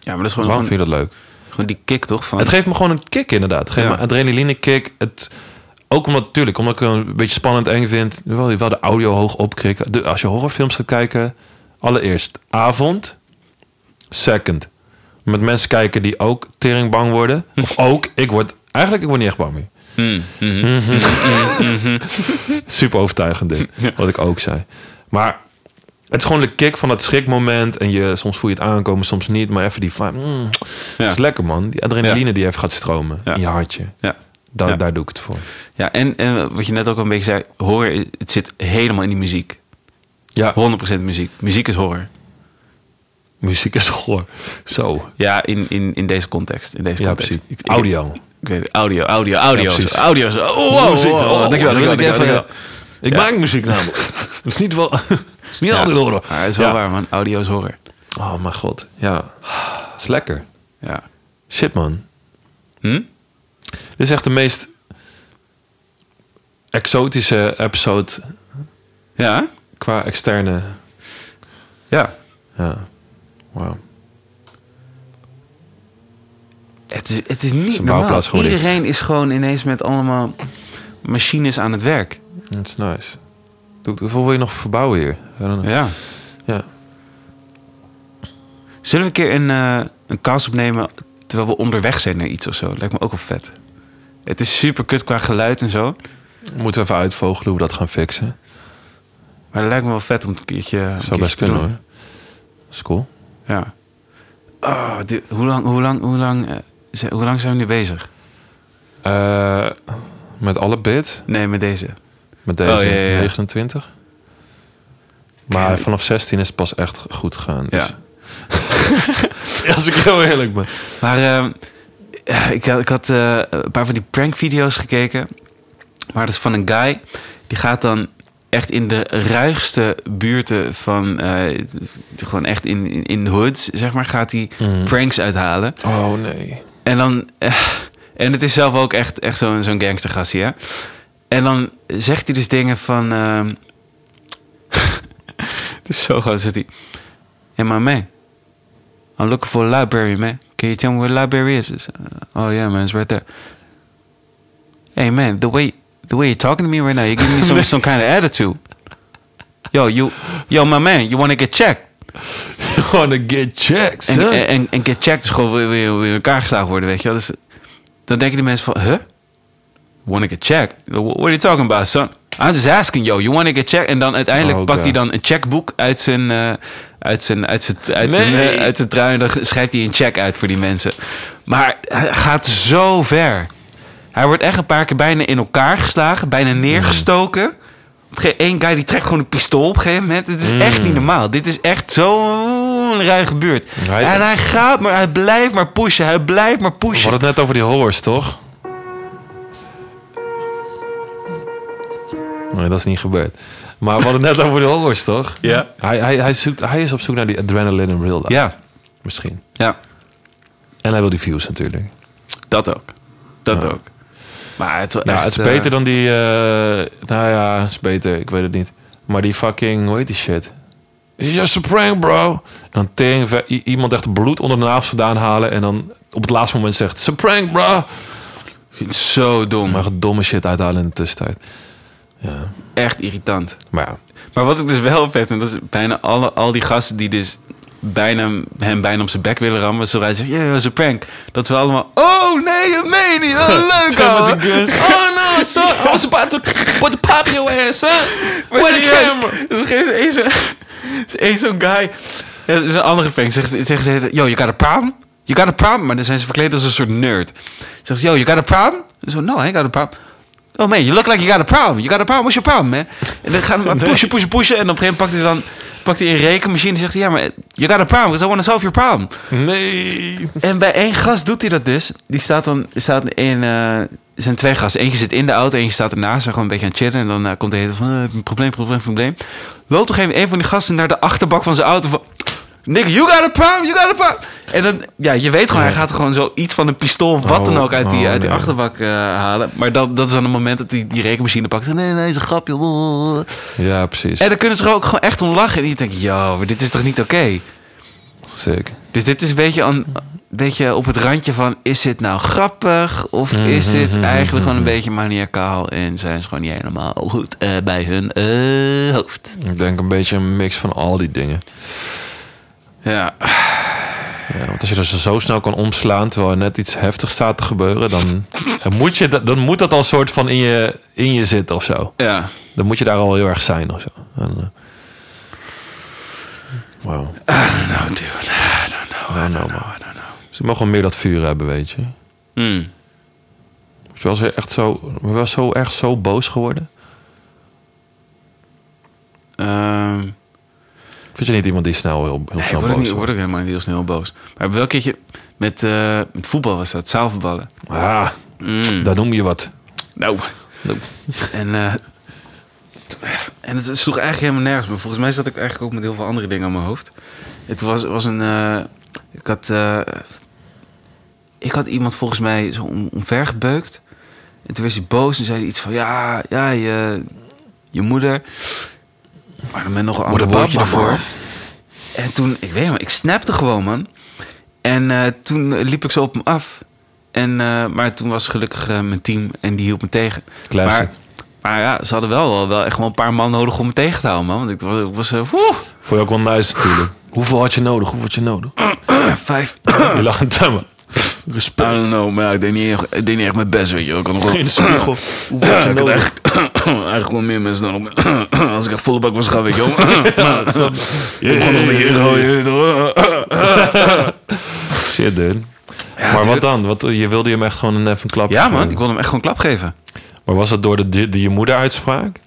Ja, maar dat is gewoon, Waarom vind gewoon, je dat leuk? gewoon die kick toch? Van, Het geeft me gewoon een kick inderdaad. Het geeft Ja. me een adrenaline kick. Het, ook omdat, natuurlijk, omdat ik het een beetje spannend eng vind. Wel, wel de audio hoog opkrikken. De- als je horrorfilms gaat kijken, allereerst avond. Second, met mensen kijken die ook tering bang worden. Hm. Of ook, ik word, eigenlijk ik word niet echt bang meer. Mm, mhm. hm, Super overtuigend dit, wat ik ook zei. Maar het is gewoon de kick van dat schrikmoment. En je, soms voel je het aankomen, soms niet. Maar even die van, mm, Ja. is lekker man. Die adrenaline die even gaat stromen Ja. in je hartje. ja. Daar, Ja. daar doe ik het voor. ja, en, en wat je net ook al een beetje zei, horror, het zit helemaal in die muziek. Ja, 100% muziek. Muziek is horror. muziek is hoor. Zo. Ja, in, in, in deze context. In deze Ja, context. precies. Ik- ik- Audio. Ik weet het. Audio, audio, audio. Ja, precies. audio. is- Oh, wow, wow, Muziek. wow. Oh, Dankjewel, dan wil dankjewel, ik dankjewel. even- Ik maak muziek namelijk. Het is niet, wel, het is niet Ja. altijd horen. Maar het is wel Ja. waar, man. Audio is horror. Oh mijn god. Ja. Het is lekker. Ja. Shit man. Hm? Dit is echt de meest exotische episode Ja? qua externe. Ja. Ja. Wauw. Het is, het is niet een normaal. bouwplaats geworden. Iedereen is gewoon ineens met allemaal machines aan het werk. Dat is nice. Doe- Hoeveel wil je nog verbouwen hier? I don't know. Ja. Ja. Zullen we een keer een, eh, een cast opnemen terwijl we onderweg zijn naar iets of zo? Lijkt me ook wel vet. Het is super kut qua geluid en zo. Moeten we even uitvogelen hoe we dat gaan fixen. Maar het lijkt me wel vet om het een keertje. een keertje Zou best te kunnen doen. hoor. Dat is cool. Ja. Oh, dit- hoe, lang, hoe, lang, hoe, lang, eh, zijn- hoe lang zijn we nu bezig? Eh, met alle bits. Nee, met deze. Met deze Oh, ja, ja, ja. 29. Maar Kijk. vanaf 16 is het pas echt goed gegaan. Ja. Dus. Als ik heel eerlijk ben. Maar ehm, ja, ik had, ik had eh, een paar van die prankvideo's gekeken. Maar dat is van een guy. Die gaat dan echt in de ruigste buurten van... eh, gewoon echt in, in, in hoods, zeg maar, gaat hij Mhm. pranks uithalen. Oh nee. En dan. eh, en het is zelf ook echt, echt zo'n zo'n gangstergastie, hè? En dan zegt hij dus dingen van. ehm, het is zo groot, zegt hij. Hey, my man. I'm looking for a library, man. Can you tell me where the library is? It's, uh, oh, yeah, man. It's right there. Hey, man. The way, the way you're talking to me right now, you're giving me some, some kind of attitude. Yo, you, yo, my man. You want to get checked? Gewoon een get checked, En, eh, hè? en, en, en get checked is gewoon weer, weer, weer in elkaar geslagen worden, weet je wel. Dus dan denken die mensen van, huh? Wanna get checked? What are you talking about, son? I'm just asking, yo, you wanna get checked? En dan uiteindelijk Oh, pakt hij God. dan een checkboek uit zijn, eh, uit zijn, uit zijn, uit zijn, Nee. eh, uit zijn trui. En dan schrijft hij een check uit voor die mensen. Maar hij gaat zo ver. Hij wordt echt een paar keer bijna in elkaar geslagen, bijna Mm. neergestoken. Op een gegeven- Eén guy die trekt gewoon een pistool op een gegeven moment. Het Mm. is echt niet normaal. Dit is echt zo'n ruige buurt. Hij- en hij gaat maar, hij blijft maar pushen. Hij blijft maar We pushen. hadden het net over die horrors, toch? Nee, dat is niet gebeurd. Maar we hadden het net over die horrors, toch? Ja. Hij, hij, hij, zoekt, hij is op zoek naar die adrenaline en real life, Ja, misschien. ja, En hij wil die views natuurlijk. dat ook. Dat Ja. ook. Maar het, is wel Nou, echt, het is eh, beter dan die... eh, nou ja, het is beter. Ik weet het niet. Maar die fucking... Hoe heet die shit? It's just a prank, bro. En dan tering, ver- i- iemand echt bloed onder de naast vandaan halen... en dan op het laatste moment zegt... It's a prank, bro. Zo dom. Maar echt domme shit uithalen in de tussentijd. Echt irritant. Maar ja. Maar wat ik dus wel vet vind, dat is bijna alle, al die gasten die dus bijna, hem bijna op zijn bek willen rammen. Zodra hij zegt, ja, dat is een prank. Dat we allemaal, oh nee, dat meen je niet. Oh, leuk, Twee met ouwe. de guns. Oh no, son, I was about to put the pop in your ass, huh? Where's the camera? Er is een- er is één zo'n guy, Ja, dat is een andere prank. Zegt, zegt ze, yo, you got a problem? You got a problem? Maar dan zijn ze verkleed als een soort nerd. Zegt ze, yo, you got a problem? Zo, no, I ain't got a problem. Oh man, you look like you got a problem. You got a problem. What's your problem, man? En dan gaan we maar pushen, pushen, pushen. En op een gegeven moment pakt hij dan pakt hij een rekenmachine en zegt hij... Ja, maar you got a problem, because I want to solve your problem. Nee. En bij één gast doet hij dat dus. Die staat dan staat in... eh, er zijn twee gasten. Eentje zit in de auto, eentje staat ernaast. En gewoon een beetje aan het chillen. En dan eh, komt hij hele tijd van... eh, heb je een probleem, probleem, probleem. Loopt op een gegeven moment een van die gasten naar de achterbak van zijn auto van... Nick, you got a problem, you got a problem. En dan, ja, je weet gewoon, hij gaat gewoon zo iets van een pistool of wat Oh, dan ook uit die, oh, uit die nee. achterbak eh, halen. Maar dat, dat is dan het moment dat hij die rekenmachine pakt. Nee, nee, is een grapje. Ja, precies. En dan kunnen ze er ook gewoon echt om lachen. En je denkt, yo, maar dit is toch niet oké? Zeker. Dus dit is een beetje, aan, een beetje op het randje van... is dit nou grappig of Mhm, is dit eigenlijk gewoon een beetje maniakaal... en zijn ze gewoon niet helemaal goed eh, bij hun eh, hoofd. Ik denk een beetje een mix van al die dingen. Ja, Ja, want als je dus zo snel kan omslaan terwijl er net iets heftigs staat te gebeuren, dan, dan moet, je, dat- dan moet dat al een soort van in je, in je zitten of zo. ja. Dan moet je daar al heel erg zijn of zo. En, eh, Wauw. Nou, dude, I don't know, I I don't don't know, I don't know. Ze mogen wel meer dat vuur hebben, weet je. Hmm. Ze was er echt zo, was zo, echt zo boos geworden. Ehm, Vind je niet iemand die snel heel, heel nee, snel word ik, boos niet, wordt? word ik helemaal niet heel snel boos. Maar wel een keertje met, eh, met voetbal was dat, zaalvoetballen. Ah, Mm. daar noem je wat. Nou. Nou. En, eh, en het sloeg eigenlijk helemaal nergens. Maar volgens mij zat ik eigenlijk ook met heel veel andere dingen aan mijn hoofd. Het was, was een. eh, ik had. eh, ik had iemand volgens mij zo om, omvergebeukt. En toen werd hij boos en zei hij iets van: Ja, ja, je, je moeder. Maar dan ben nog een ander What about woordje my ervoor. mom? En toen, ik weet niet, maar ik snapte gewoon, man. En eh, toen eh, liep ik zo op hem af. En, eh, maar toen was gelukkig eh, mijn team en die hielp me tegen. Classic. Maar, maar ja, ze hadden wel, wel echt wel een paar man nodig om me tegen te houden, man. Want ik was, ik was eh, woe, Vond je ook wel nice natuurlijk. Hoeveel had je nodig? Hoeveel had je nodig? vijf. Je lag in temmen. I Respect. don't know, maar ja, ik deed niet, echt- ik deed niet echt mijn best, weet je. wel. Ik had nog wel... In de spiegel. Ja, ik had echt- eigenlijk wel meer mensen nodig. Als ik echt volle bak was gaan, weet je wel. Maar- Ik begon nog een hero, je weet toch. Shit, dude. Ja, maar dude. wat dan? Wat, je wilde hem echt gewoon een even een klap Ja, man, ik wilde hem echt gewoon klap geven. Maar was dat door de, die, die je moeder uitspraak?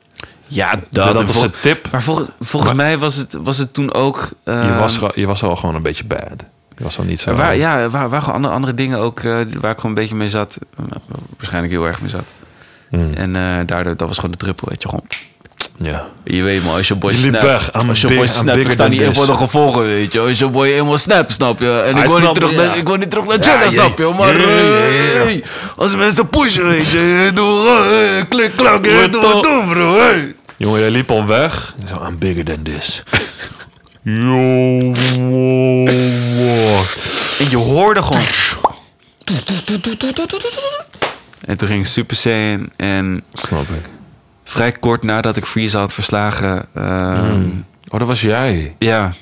Ja, Dat, en was vol- een tip. Maar vol- volgens mij was het, was het toen ook... eh, je, was, er- je was al gewoon een beetje bad. Je was al niet zo... Waar, ja, waar, waar gewoon andere, andere dingen ook... eh, waar ik gewoon een beetje mee zat. Eh, Waarschijnlijk heel erg mee zat. Mm, En eh, daardoor, dat was gewoon de druppel, weet je gewoon. ja. Je weet maar, als je boy Je liep snapt... weg. I'm als je big- boy I'm snapt, dan bigger staan than die in voor this. de gevolgen, weet je. Als je boy eenmaal snap, snap je. En Hij ik wil, niet snapt, terug ja. naar, ik wil niet terug naar Ja, China, ja, snap je. Maar ja, ja, ja. hey, als mensen pushen, weet je. Doe, hey, klik, klak, hey, Wordt doe wat al- doen, bro. hey. Jongen, jij liep al weg. Zo, I'm bigger than this. Yo, wow, wow. En je hoorde gewoon... En toen ging Super Saiyan en Snap ik. Hmm. vrij kort nadat ik Freeze had verslagen... ehm, Oh, dat was jij. Ja,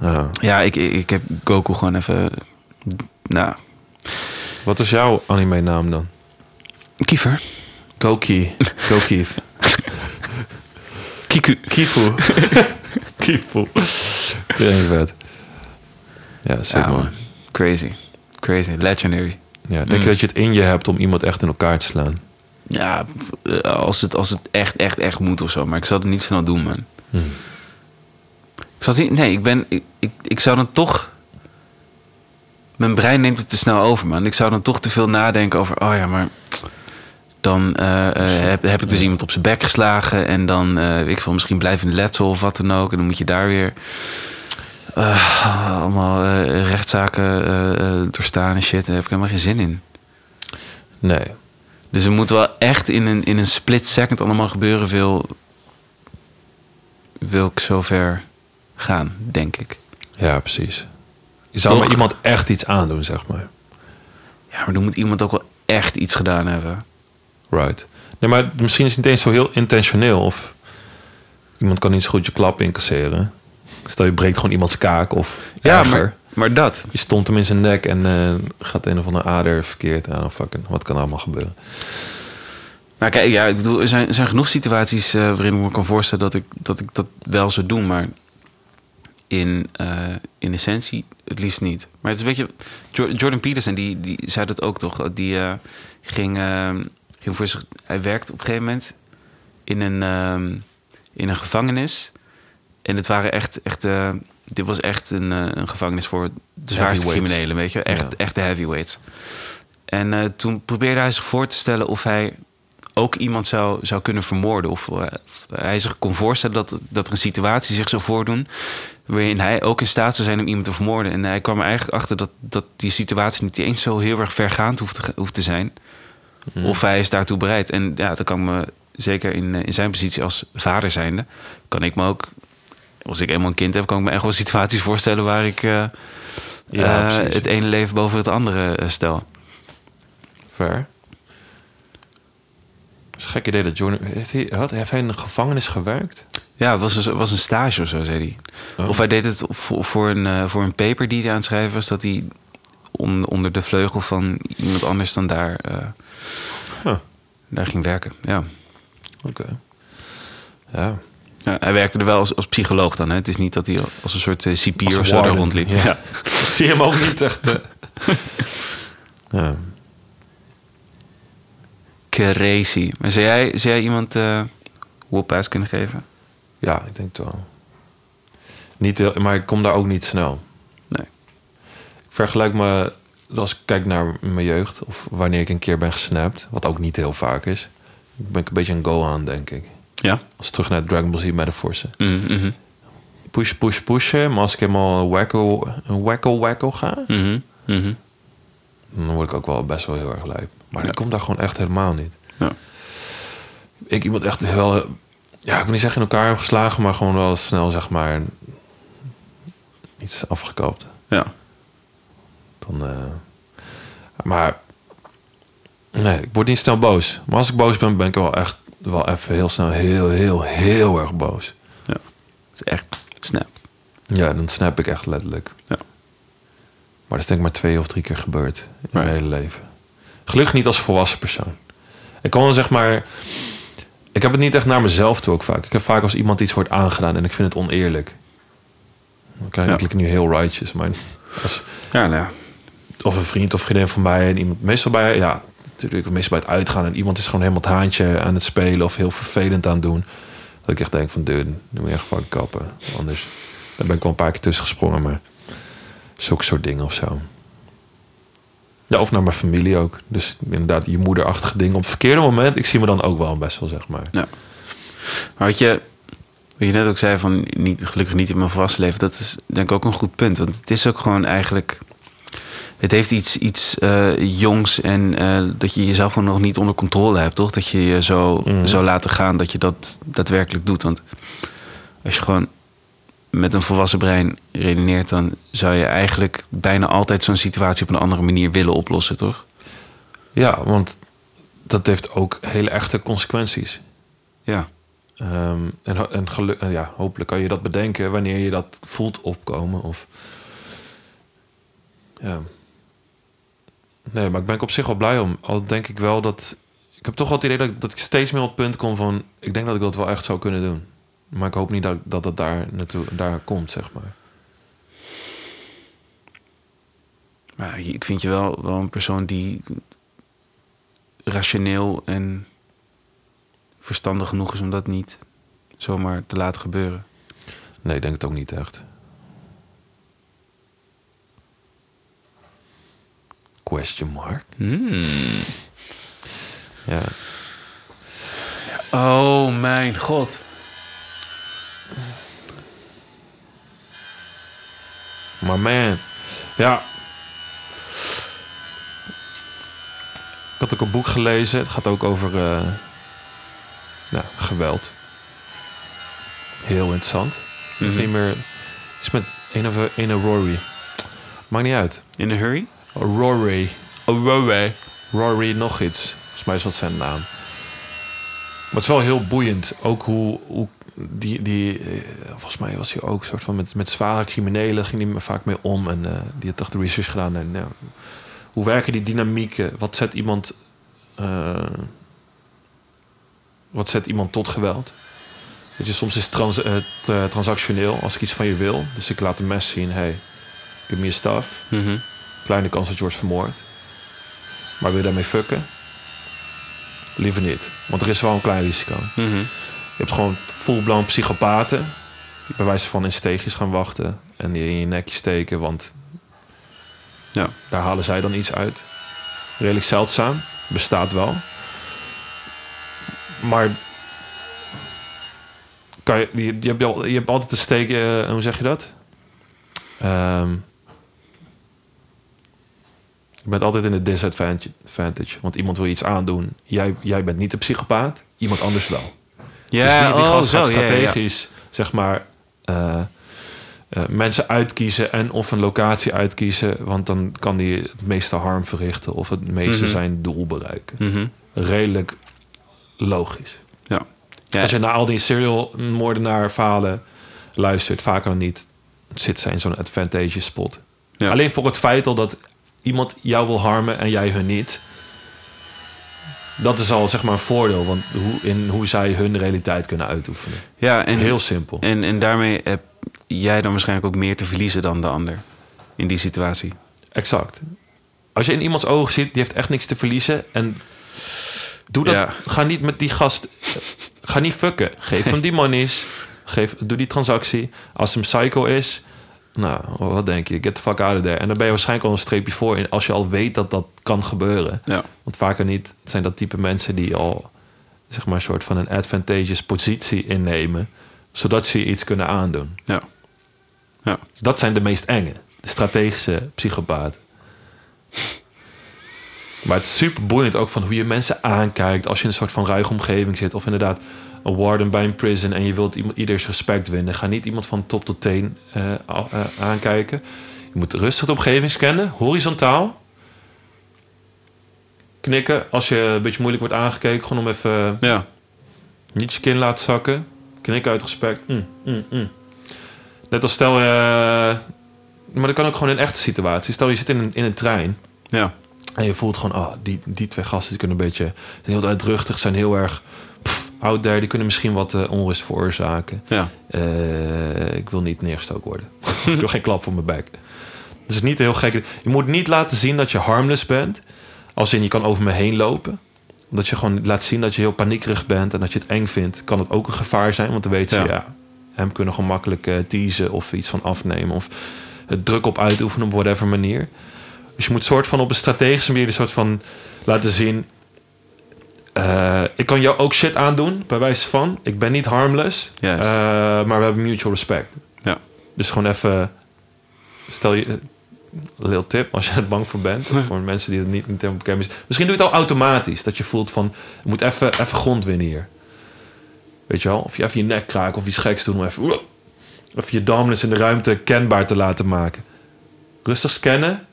Ja. Ja, ik, ik, ik heb Goku gewoon even... Nou, Wat is jouw anime naam dan? Kiefer. Koki. Kokief. Kiku. Kifu. Kifu. Training vet. Ja, zeker Ja, man. man. Crazy. Crazy. Legendary. Ja, denk je Mm. dat je het in je hebt om iemand echt in elkaar te slaan? Ja, eh, als het, als het echt, echt, echt moet of zo. Maar ik zou het niet snel doen, man. Hmm. Ik zou het niet... Nee, ik ben... Ik, ik, ik zou dan toch... Mijn brein neemt het te snel over, man. Ik zou dan toch te veel nadenken over... Oh ja, maar... Dan eh, eh, heb, heb ik dus iemand op zijn bek geslagen. En dan, eh, weet ik wil misschien blijven in letsel of wat dan ook. En dan moet je daar weer... eh, allemaal eh, rechtszaken eh, eh, doorstaan en shit. Daar heb ik helemaal geen zin in. Nee. Dus er moet wel echt in een, in een split second allemaal gebeuren, wil, wil ik zover gaan, denk ik. Ja, precies. Je zou Toch? maar iemand echt iets aandoen, zeg maar. Ja, maar dan moet iemand ook wel echt iets gedaan hebben. Right. Nee, maar misschien is het niet eens zo heel intentioneel. Of iemand kan niet zo goed je klap incasseren. Stel, je breekt gewoon iemands kaak of ja, erger. maar, maar dat. Je stond hem in zijn nek en eh, gaat een of andere ader verkeerd aan. Of fucking, wat kan er allemaal gebeuren? Maar Nou, kijk, ja, ik bedoel, er zijn, er zijn genoeg situaties eh, waarin ik me kan voorstellen dat ik dat, ik dat wel zou doen, maar in, eh, in essentie het liefst niet. Maar het is een beetje. Jo- Jordan Peterson, die, die zei dat ook toch? Die eh, ging, eh, ging voor zich. Hij werkte op een gegeven moment in een, ehm, in een gevangenis. En het waren echt. echt eh, dit was echt een, eh, een gevangenis voor de zwaarste Heavyweights. criminelen, weet je? Echt, Ja. echt de heavyweights. En eh, toen probeerde hij zich voor te stellen of hij ook iemand zou, zou kunnen vermoorden. Of eh, hij zich kon voorstellen dat, dat er een situatie zich zou voordoen. waarin hij ook in staat zou zijn om iemand te vermoorden. En hij kwam er eigenlijk achter dat, dat die situatie niet eens zo heel erg vergaand hoeft te, ge- hoeft te zijn. Of hij is daartoe bereid. En ja, dat kan me zeker in, eh, in zijn positie als vader zijnde. kan ik me ook. Als ik eenmaal een kind heb, kan ik me echt wel situaties voorstellen waar ik eh, Ja, eh, precies. het ene leven boven het andere eh, stel. Ver. Dat is een gek idee dat Jordan... Heeft hij, had, heeft hij in een gevangenis gewerkt? Ja, het was een, het was een stage of zo, zei hij. Oh. Of hij deed het voor, voor, een, eh, voor een paper die hij aan het schrijven was... dat hij on- onder de vleugel van iemand anders dan daar, eh, Huh. daar ging werken. Ja. Oké. Ja. Ja, hij werkte er wel als, als psycholoog dan. Hè? Het is niet dat hij als een soort eh, cipier Als of zo daar warden, rondliep. ja. Ja. Ik zie hem ook niet echt... eh. ja. Crazy. Maar zou jij, zou jij iemand eh whoop-ass kunnen geven? ja, ik denk het wel. Niet heel, maar ik kom daar ook niet snel. Nee. Ik vergelijk me, als ik kijk naar mijn jeugd... of wanneer ik een keer ben gesnapt, wat ook niet heel vaak is... ben ik een beetje een Gohan, denk ik. Ja? Als terug naar Dragon Ball Z Metaforce. Mm, mhm, Push, push, pushen. Maar als ik helemaal wacko, wacko, wacko ga... mhm, mhm. dan word ik ook wel best wel heel erg lui. Maar ik kom daar gewoon echt helemaal niet. Ja. Ik iemand echt wel... Ja, ik wil niet zeggen in elkaar heb geslagen... maar gewoon wel snel, zeg maar... iets afgekapt. ja. Dan, eh, maar... Nee, ik word niet snel boos. Maar als ik boos ben, ben ik wel echt... wel even heel snel heel, heel, heel erg boos. Ja. Het is echt snap. Ja, dan snap ik echt letterlijk. Ja. Maar dat is denk ik maar twee of drie keer gebeurd in mijn Right. hele leven. Gelukkig niet als volwassen persoon. Ik kan wel zeg maar... Ik heb het niet echt naar mezelf toe ook vaak. Ik heb vaak als iemand iets wordt aangedaan en ik vind het oneerlijk. Dan krijg Ja. ik nu heel righteous. Maar als, Ja, nou ja. of een vriend of vriendin van mij en iemand... Meestal bij... Ja, natuurlijk meestal bij het uitgaan. En iemand is gewoon helemaal het haantje aan het spelen of heel vervelend aan het doen. Dat ik echt denk van, dude, nu moet je echt fucking kappen. Anders... Daar ben ik wel een paar keer tussen gesprongen, maar zulke soort dingen of zo. Ja, of naar mijn familie ook. Dus inderdaad, je moederachtige dingen. Op het verkeerde moment, ik zie me dan ook wel best wel, zeg maar. Ja. Maar wat je, wat je net ook zei van niet, gelukkig niet in mijn volwassen leven, dat is denk ik ook een goed punt. Want het is ook gewoon eigenlijk. Het heeft iets, iets eh, jongs en eh, dat je jezelf gewoon nog niet onder controle hebt, toch? Dat je je zo, Mhm. zo laten gaan dat je dat daadwerkelijk doet. Want als je gewoon met een volwassen brein redeneert, dan zou je eigenlijk bijna altijd zo'n situatie op een andere manier willen oplossen, toch? Ja, want dat heeft ook hele echte consequenties. Ja. Ehm, en ho- en geluk, en ja, hopelijk kan je dat bedenken wanneer je dat voelt opkomen. Of, ja. Nee, maar ik ben er op zich wel blij om. Al denk ik wel dat... Ik heb toch wel het idee dat, ik- dat ik steeds meer op het punt kom van... Ik denk dat ik dat wel echt zou kunnen doen. Maar ik hoop niet dat dat, dat daar, naartoe, daar komt, zeg maar. Maar je- ik vind je wel, wel een persoon die rationeel en verstandig genoeg is om dat niet zomaar te laten gebeuren. Nee, ik denk het ook niet echt. Question mark? Hmm. Ja. Oh mijn god. Maar man. Ja. Ik had ook een boek gelezen. Het gaat ook over eh, nou, geweld. Heel interessant. Ik weet Mhm. Niet meer. Het is met een of een Rory. Maakt niet uit. In a hurry? Rory. Oh, Rory nog iets. Volgens mij is dat zijn naam. Maar het is wel heel boeiend. Ook hoe, hoe die, die eh, volgens mij was hij ook soort van met, met zware criminelen ging hij me vaak mee om. En eh, die had toch de research gedaan. En, nou, hoe werken die dynamieken? Wat zet iemand, eh, wat zet iemand tot geweld? Weet je, soms is het trans, eh, t- eh, transactioneel als ik iets van je wil. Dus ik laat een mes zien. Hey, give me a stuff Mhm. kleine kans dat je wordt vermoord. Maar wil je daarmee fucken? Liever niet. Want er is wel een klein risico. Mhm. Je hebt gewoon full-blown psychopaten. Die bij wijze van in steegjes gaan wachten. En die in je nekje steken. Want Ja. daar halen zij dan iets uit. Redelijk zeldzaam. Bestaat wel. Maar... Kan je, je, je, hebt, al- je hebt altijd een steek... eh, hoe zeg je dat? Ehm, je bent altijd in de disadvantage. advantage, Want iemand wil iets aandoen. Jij, jij bent niet de psychopaat. Iemand anders wel. Ja, dus die, die oh, gast zo, gaat ja, ja, ja. strategisch, zeg maar, eh, eh, mensen uitkiezen en of een locatie uitkiezen. Want dan kan die het meeste harm verrichten of het meeste Mhm. zijn doel bereiken. Mhm. Redelijk logisch. Ja. Ja. Als je naar al die serial moordenaar verhalen luistert, vaker dan niet, zit zij in zo'n advantage spot. Ja. Alleen voor het feit al dat iemand jou wil harmen en jij hun niet. Dat is al zeg maar een voordeel, want hoe, in hoe zij hun realiteit kunnen uitoefenen. Ja, en, Heel simpel. en, en daarmee heb jij dan waarschijnlijk ook meer te verliezen dan de ander in die situatie. Exact. Als je in iemands ogen ziet, die heeft echt niks te verliezen. En doe dat. Ja. Ga niet met die gast. Ga niet fucken. Geef hem die monies. Geef, doe die transactie. Als hem psycho is. Nou, wat denk je? Get the fuck out of there. En dan ben je waarschijnlijk al een streepje voor in als je al weet dat dat kan gebeuren. Ja. Want vaker niet zijn dat type mensen die al zeg maar een soort van een advantageous positie innemen, zodat ze je iets kunnen aandoen. Ja. Ja. Dat zijn de meest enge, de strategische psychopaat. Maar het is super boeiend ook van hoe je mensen aankijkt als je in een soort van ruige omgeving zit. Of inderdaad een warden bij een prison en je wilt iemand, ieders respect winnen. Ga niet iemand van top tot teen eh, a- eh, aankijken. Je moet rustig de omgeving scannen, horizontaal. Knikken als je een beetje moeilijk wordt aangekeken. Gewoon om even Ja. niet je kin laten zakken. Knik uit respect. Mm, mm, mm. Net als stel... eh, maar dat kan ook gewoon in echte situaties. Stel, je zit in een, in een trein. Ja. En je voelt gewoon... ah, die, die twee gasten die kunnen een beetje... zijn heel uitdruchtig, zijn heel erg... pff, out there, die kunnen misschien wat eh, onrust veroorzaken. Ja. Eh, ik wil niet neergestoken worden. ik wil geen klap voor mijn bek. Het is niet heel gek. Je moet niet laten zien dat je harmless bent. Als in je kan over me heen lopen. Omdat je gewoon laat zien dat je heel paniekerig bent en dat je het eng vindt. Kan het ook een gevaar zijn, want dan weten ze Ja. ja. Hem kunnen gewoon makkelijk eh, teasen of iets van afnemen. Of het druk op uitoefenen op whatever manier. Dus je moet soort van op een strategische manier een soort van laten zien. eh, ik kan jou ook shit aandoen, bij wijze van. Ik ben niet harmless. Juist. Eh, maar we hebben mutual respect. Ja. Dus gewoon even. Stel je. eh, Een little tip als je er bang voor bent. of voor mensen die het niet, niet helemaal bekend is. Misschien doe je het al automatisch. Dat je voelt van. Je moet even, even grond winnen hier. Weet je wel? Of je even je nek kraken of iets geks doen. Om even. Of je dominance in de ruimte kenbaar te laten maken. Rustig scannen.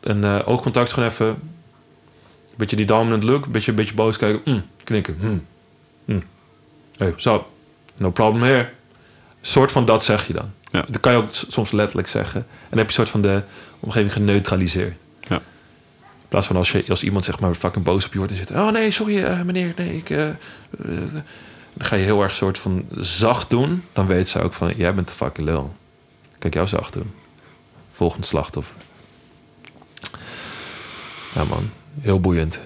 Een eh, oogcontact gewoon even. Een hmm, beetje die dominant look. Een beetje, beetje boos kijken. Mm, knikken. Mm, mm. Hey, so, no problem here. Soort van dat zeg je dan. Ja. Dat kan je ook s- soms letterlijk zeggen. En dan heb je soort van de omgeving geneutraliseerd. Ja. In plaats van als, je, als iemand zeg maar fucking boos op je wordt en zegt... Oh nee, sorry eh, meneer, nee, ik... eh, eh," dan ga je heel erg soort van zacht doen. Dan weet ze ook van, jij bent de fucking lul. Kijk jou zacht doen. Volgend slachtoffer. Ja man, heel boeiend.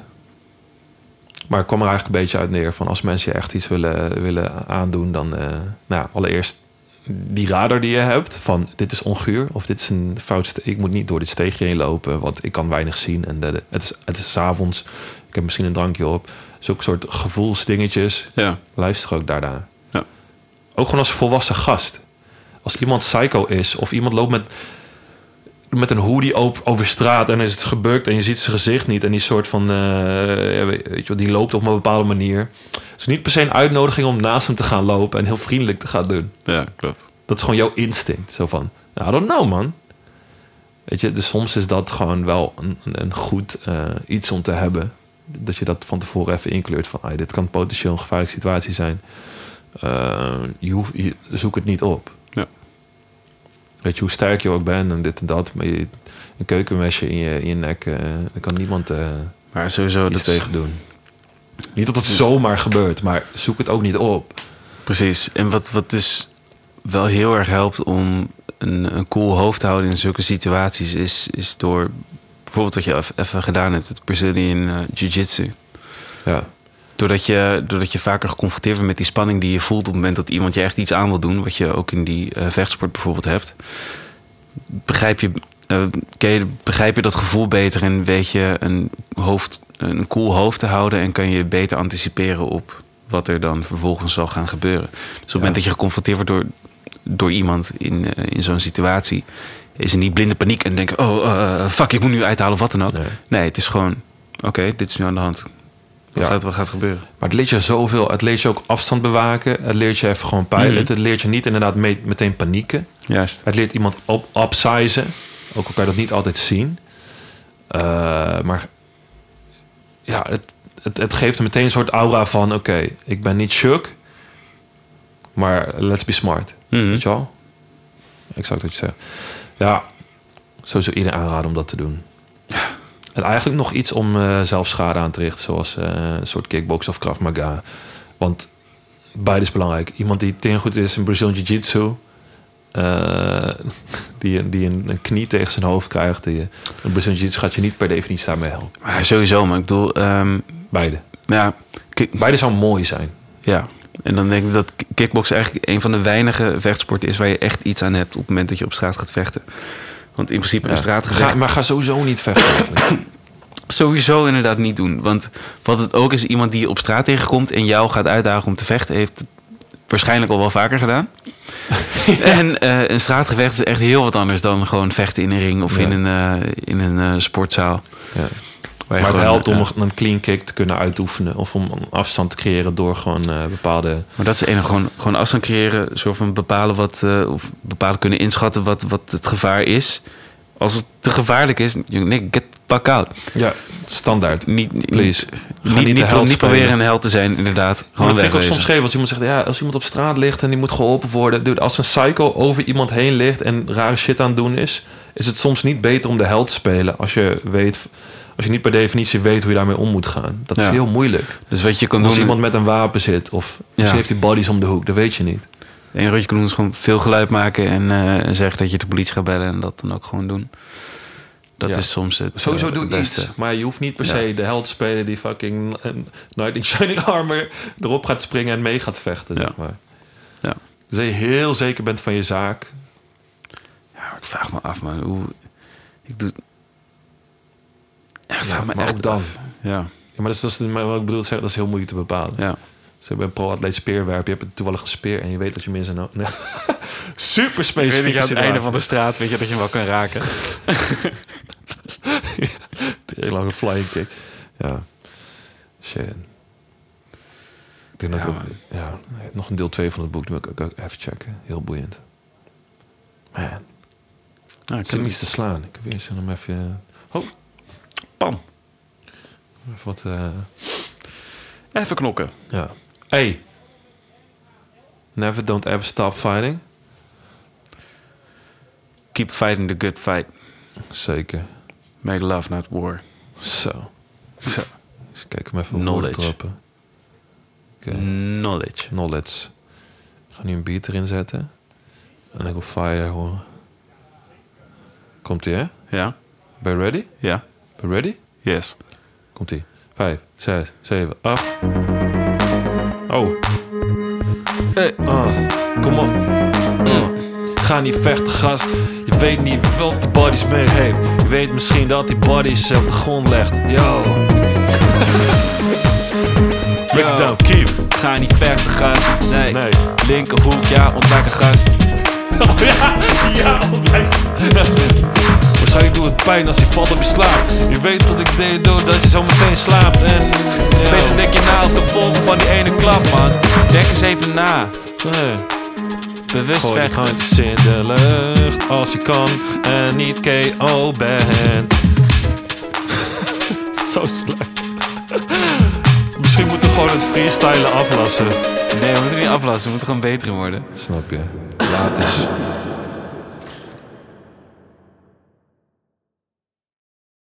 Maar ik kwam er eigenlijk een beetje uit neer van als mensen je echt iets willen, willen aandoen, dan eh, nou, ja, allereerst die radar die je hebt van dit is onguur of dit is een fout. ste- Ik moet niet door dit steegje heen lopen, want ik kan weinig zien en eh, het is, het is 's avonds. Ik heb misschien een drankje op. Zulke soort gevoelsdingetjes. Ja. Luister ook daarna. Ja. Ook gewoon als volwassen gast. Als iemand psycho is of iemand loopt met, met een hoodie op, over straat en is het gebukt en je ziet zijn gezicht niet en die soort van, eh, ja, weet je wel, die loopt op een bepaalde manier. Het is niet per se een uitnodiging om naast hem te gaan lopen en heel vriendelijk te gaan doen. ja, klopt. Dat is gewoon jouw instinct. Zo van, I don't know man. Weet je, dus soms is dat gewoon wel een, een een goed eh, iets om te hebben. Dat je dat van tevoren even inkleurt van, ah, dit kan potentieel een gevaarlijke situatie zijn. Eh, je, hoeft, je- zoek het niet op. Ja. Weet je, hoe sterk je ook bent en dit en dat. Maar je, een keukenmesje in je, in je nek, eh daar kan niemand eh Maar sowieso, iets dat is, tegen doen. Niet dat het zomaar gebeurt, maar zoek het ook niet op. precies. En wat, wat dus wel heel erg helpt om een, een cool hoofd te houden in zulke situaties, is, is door bijvoorbeeld wat je eff- even gedaan hebt, het Brazilian eh, Jiu-Jitsu. Ja, Doordat je, doordat je vaker geconfronteerd wordt met die spanning die je voelt op het moment dat iemand je echt iets aan wil doen, wat je ook in die eh, vechtsport bijvoorbeeld hebt, begrijp je, eh, ken je- begrijp je dat gevoel beter en weet je een, hoofd, een cool hoofd te houden en kan je beter anticiperen op wat er dan vervolgens zal gaan gebeuren. Dus op het moment dat je geconfronteerd wordt door, door iemand in, eh, in zo'n situatie, is er niet blinde paniek en denken, oh eh, fuck, ik moet nu uithalen of wat dan ook. nee. Nee, het is gewoon, oké, dit is nu aan de hand. Wat, Ja. gaat, wat gaat gebeuren? Maar het leert je zoveel. Het leert je ook afstand bewaken. Het leert je even gewoon peilen. Mhm. Het leert je niet inderdaad mee- meteen panieken. Juist. Het leert iemand op upsizen. Ook al kan je dat niet altijd zien. Eh, maar ja, het, het, het geeft er meteen een soort aura van... oké, ik ben niet shook, maar let's be smart. Hm? Weet je wel? Exact wat je zegt. Ja, sowieso iedereen aanraden om dat te doen. En eigenlijk nog iets om eh, zelf schade aan te richten, zoals eh, een soort kickbox of Krav Maga. Want beide is belangrijk. Iemand die tegen goed is in Brazilian Jiu-Jitsu, eh, die, die een, een knie tegen zijn hoofd krijgt, die, een Brazilian Jiu-Jitsu gaat je niet per definitie daarmee helpen. Maar sowieso, maar ik bedoel, ehm, Beide. ja, ki- Beide zou mooi zijn. ja. En dan denk ik dat ki- kickboksen eigenlijk een van de weinige vechtsporten is waar je echt iets aan hebt op het moment dat je op straat gaat vechten. Want in principe een straatgevecht Ga, maar ga sowieso niet vechten. eigenlijk. sowieso inderdaad niet doen. Want wat het ook is, iemand die je op straat tegenkomt en jou gaat uitdagen om te vechten, heeft het waarschijnlijk al wel vaker gedaan. En eh, een straatgevecht is echt heel wat anders dan gewoon vechten in een ring of Ja. in een, eh, in een eh, sportzaal. Ja. Waar je Maar het gewoon, helpt om eh, een- een clean kick te kunnen uitoefenen. Of om een afstand te creëren door gewoon eh, bepaalde... Maar dat is het enige, gewoon, gewoon afstand creëren, soort van bepalen wat, eh, of bepalen kunnen inschatten wat, wat het gevaar is. Als het te gevaarlijk is, nee, get the fuck out. Ja, standaard. Niet, niet, Please. niet, Ga niet niet, de pro- held niet spelen. proberen een held te zijn, inderdaad. Maar Gewoon dat vind ik ook wegwezen. soms scheef. Als iemand zegt, ja, als iemand op straat ligt en die moet geholpen worden. Dude, als een psycho over iemand heen ligt en rare shit aan het doen is... is het soms niet beter om de held te spelen als je weet... Als je niet per definitie weet hoe je daarmee om moet gaan. Dat is Ja. heel moeilijk. Dus wat je kan Als doen, iemand met een wapen zit of misschien heeft hij bodies om de hoek. Dat weet je niet. het enige wat je kan doen is gewoon veel geluid maken en eh, zeggen dat je de politie gaat bellen en dat dan ook gewoon doen. Dat Ja. is soms het Sowieso eh, doe het beste. iets. Maar je hoeft niet per Ja. se de held te spelen die fucking eh, Knight in Shining Armor erop gaat springen en mee gaat vechten. Ja. Zeg maar. Ja. Dus dat je heel zeker bent van je zaak. Ja, maar ik vraag me af, man. Hoe... Ik doe... Ja, ik Ja, vraag me maar echt ook dan. af. Ja, Ja, maar dat is, dat is maar wat ik bedoel te zeggen, dat is heel moeilijk te bepalen. ja. Ze hebben een pro-atleet speerwerp, je hebt een toevallige speer en je weet dat je mensen... No nee. Super Ik weet specifiek. dat je aan het einde van de straat weet je dat je hem wel kan raken. Heel lange flying kick. Ja. Shit. Ik denk Ja, dat man. we, ja, nog een deel 2 van het boek, die moet ik ook- ook even checken. Heel boeiend. Man. Nou, ik Ik zit hem iets te slaan. Ik heb eerst om even, Pam. even wat... eh, Even knokken. ja. Hey, Never don't ever stop fighting. Keep fighting the good fight. Zeker. Make love, not war. Zo. Zo. Eens kijken, hem even op Knowledge. woorden trappen. Oké. Knowledge. eh, Knowledge. Ik ga nu een beat erin zetten. En ik wil fire horen. Komt ie, hè? Ja? Ben je ready? Ja? Ben je ready? Yes. Komt ie. Vijf, zes, zeven, acht. Oh. Hey, ah. Kom op. Mm. Ga niet vechten, gast. Je weet niet wat de bodies mee heeft. Je weet misschien dat die bodies op de grond legt. Yo. Break Yo. it down, keep. Ga niet vechten, gast. Nee. Nee. Linkerhoek, ja, ontwaken, gast. Oh ja, ja, ontwijk. Waarschijnlijk doet het pijn als je valt op je slaap. Je weet dat ik dit doe, dat je zo meteen slaapt. En. yo. Beter denk je na op de volgen van die ene klap, man. Denk eens even na. Hey. Bewust Gooi je vechten. handjes in de lucht als je kan en niet KO bent. Zo slecht. Misschien moeten we gewoon het freestylen aflassen. Nee, we moeten niet aflassen. We moeten gewoon beter in worden. Snap je? Laat eens.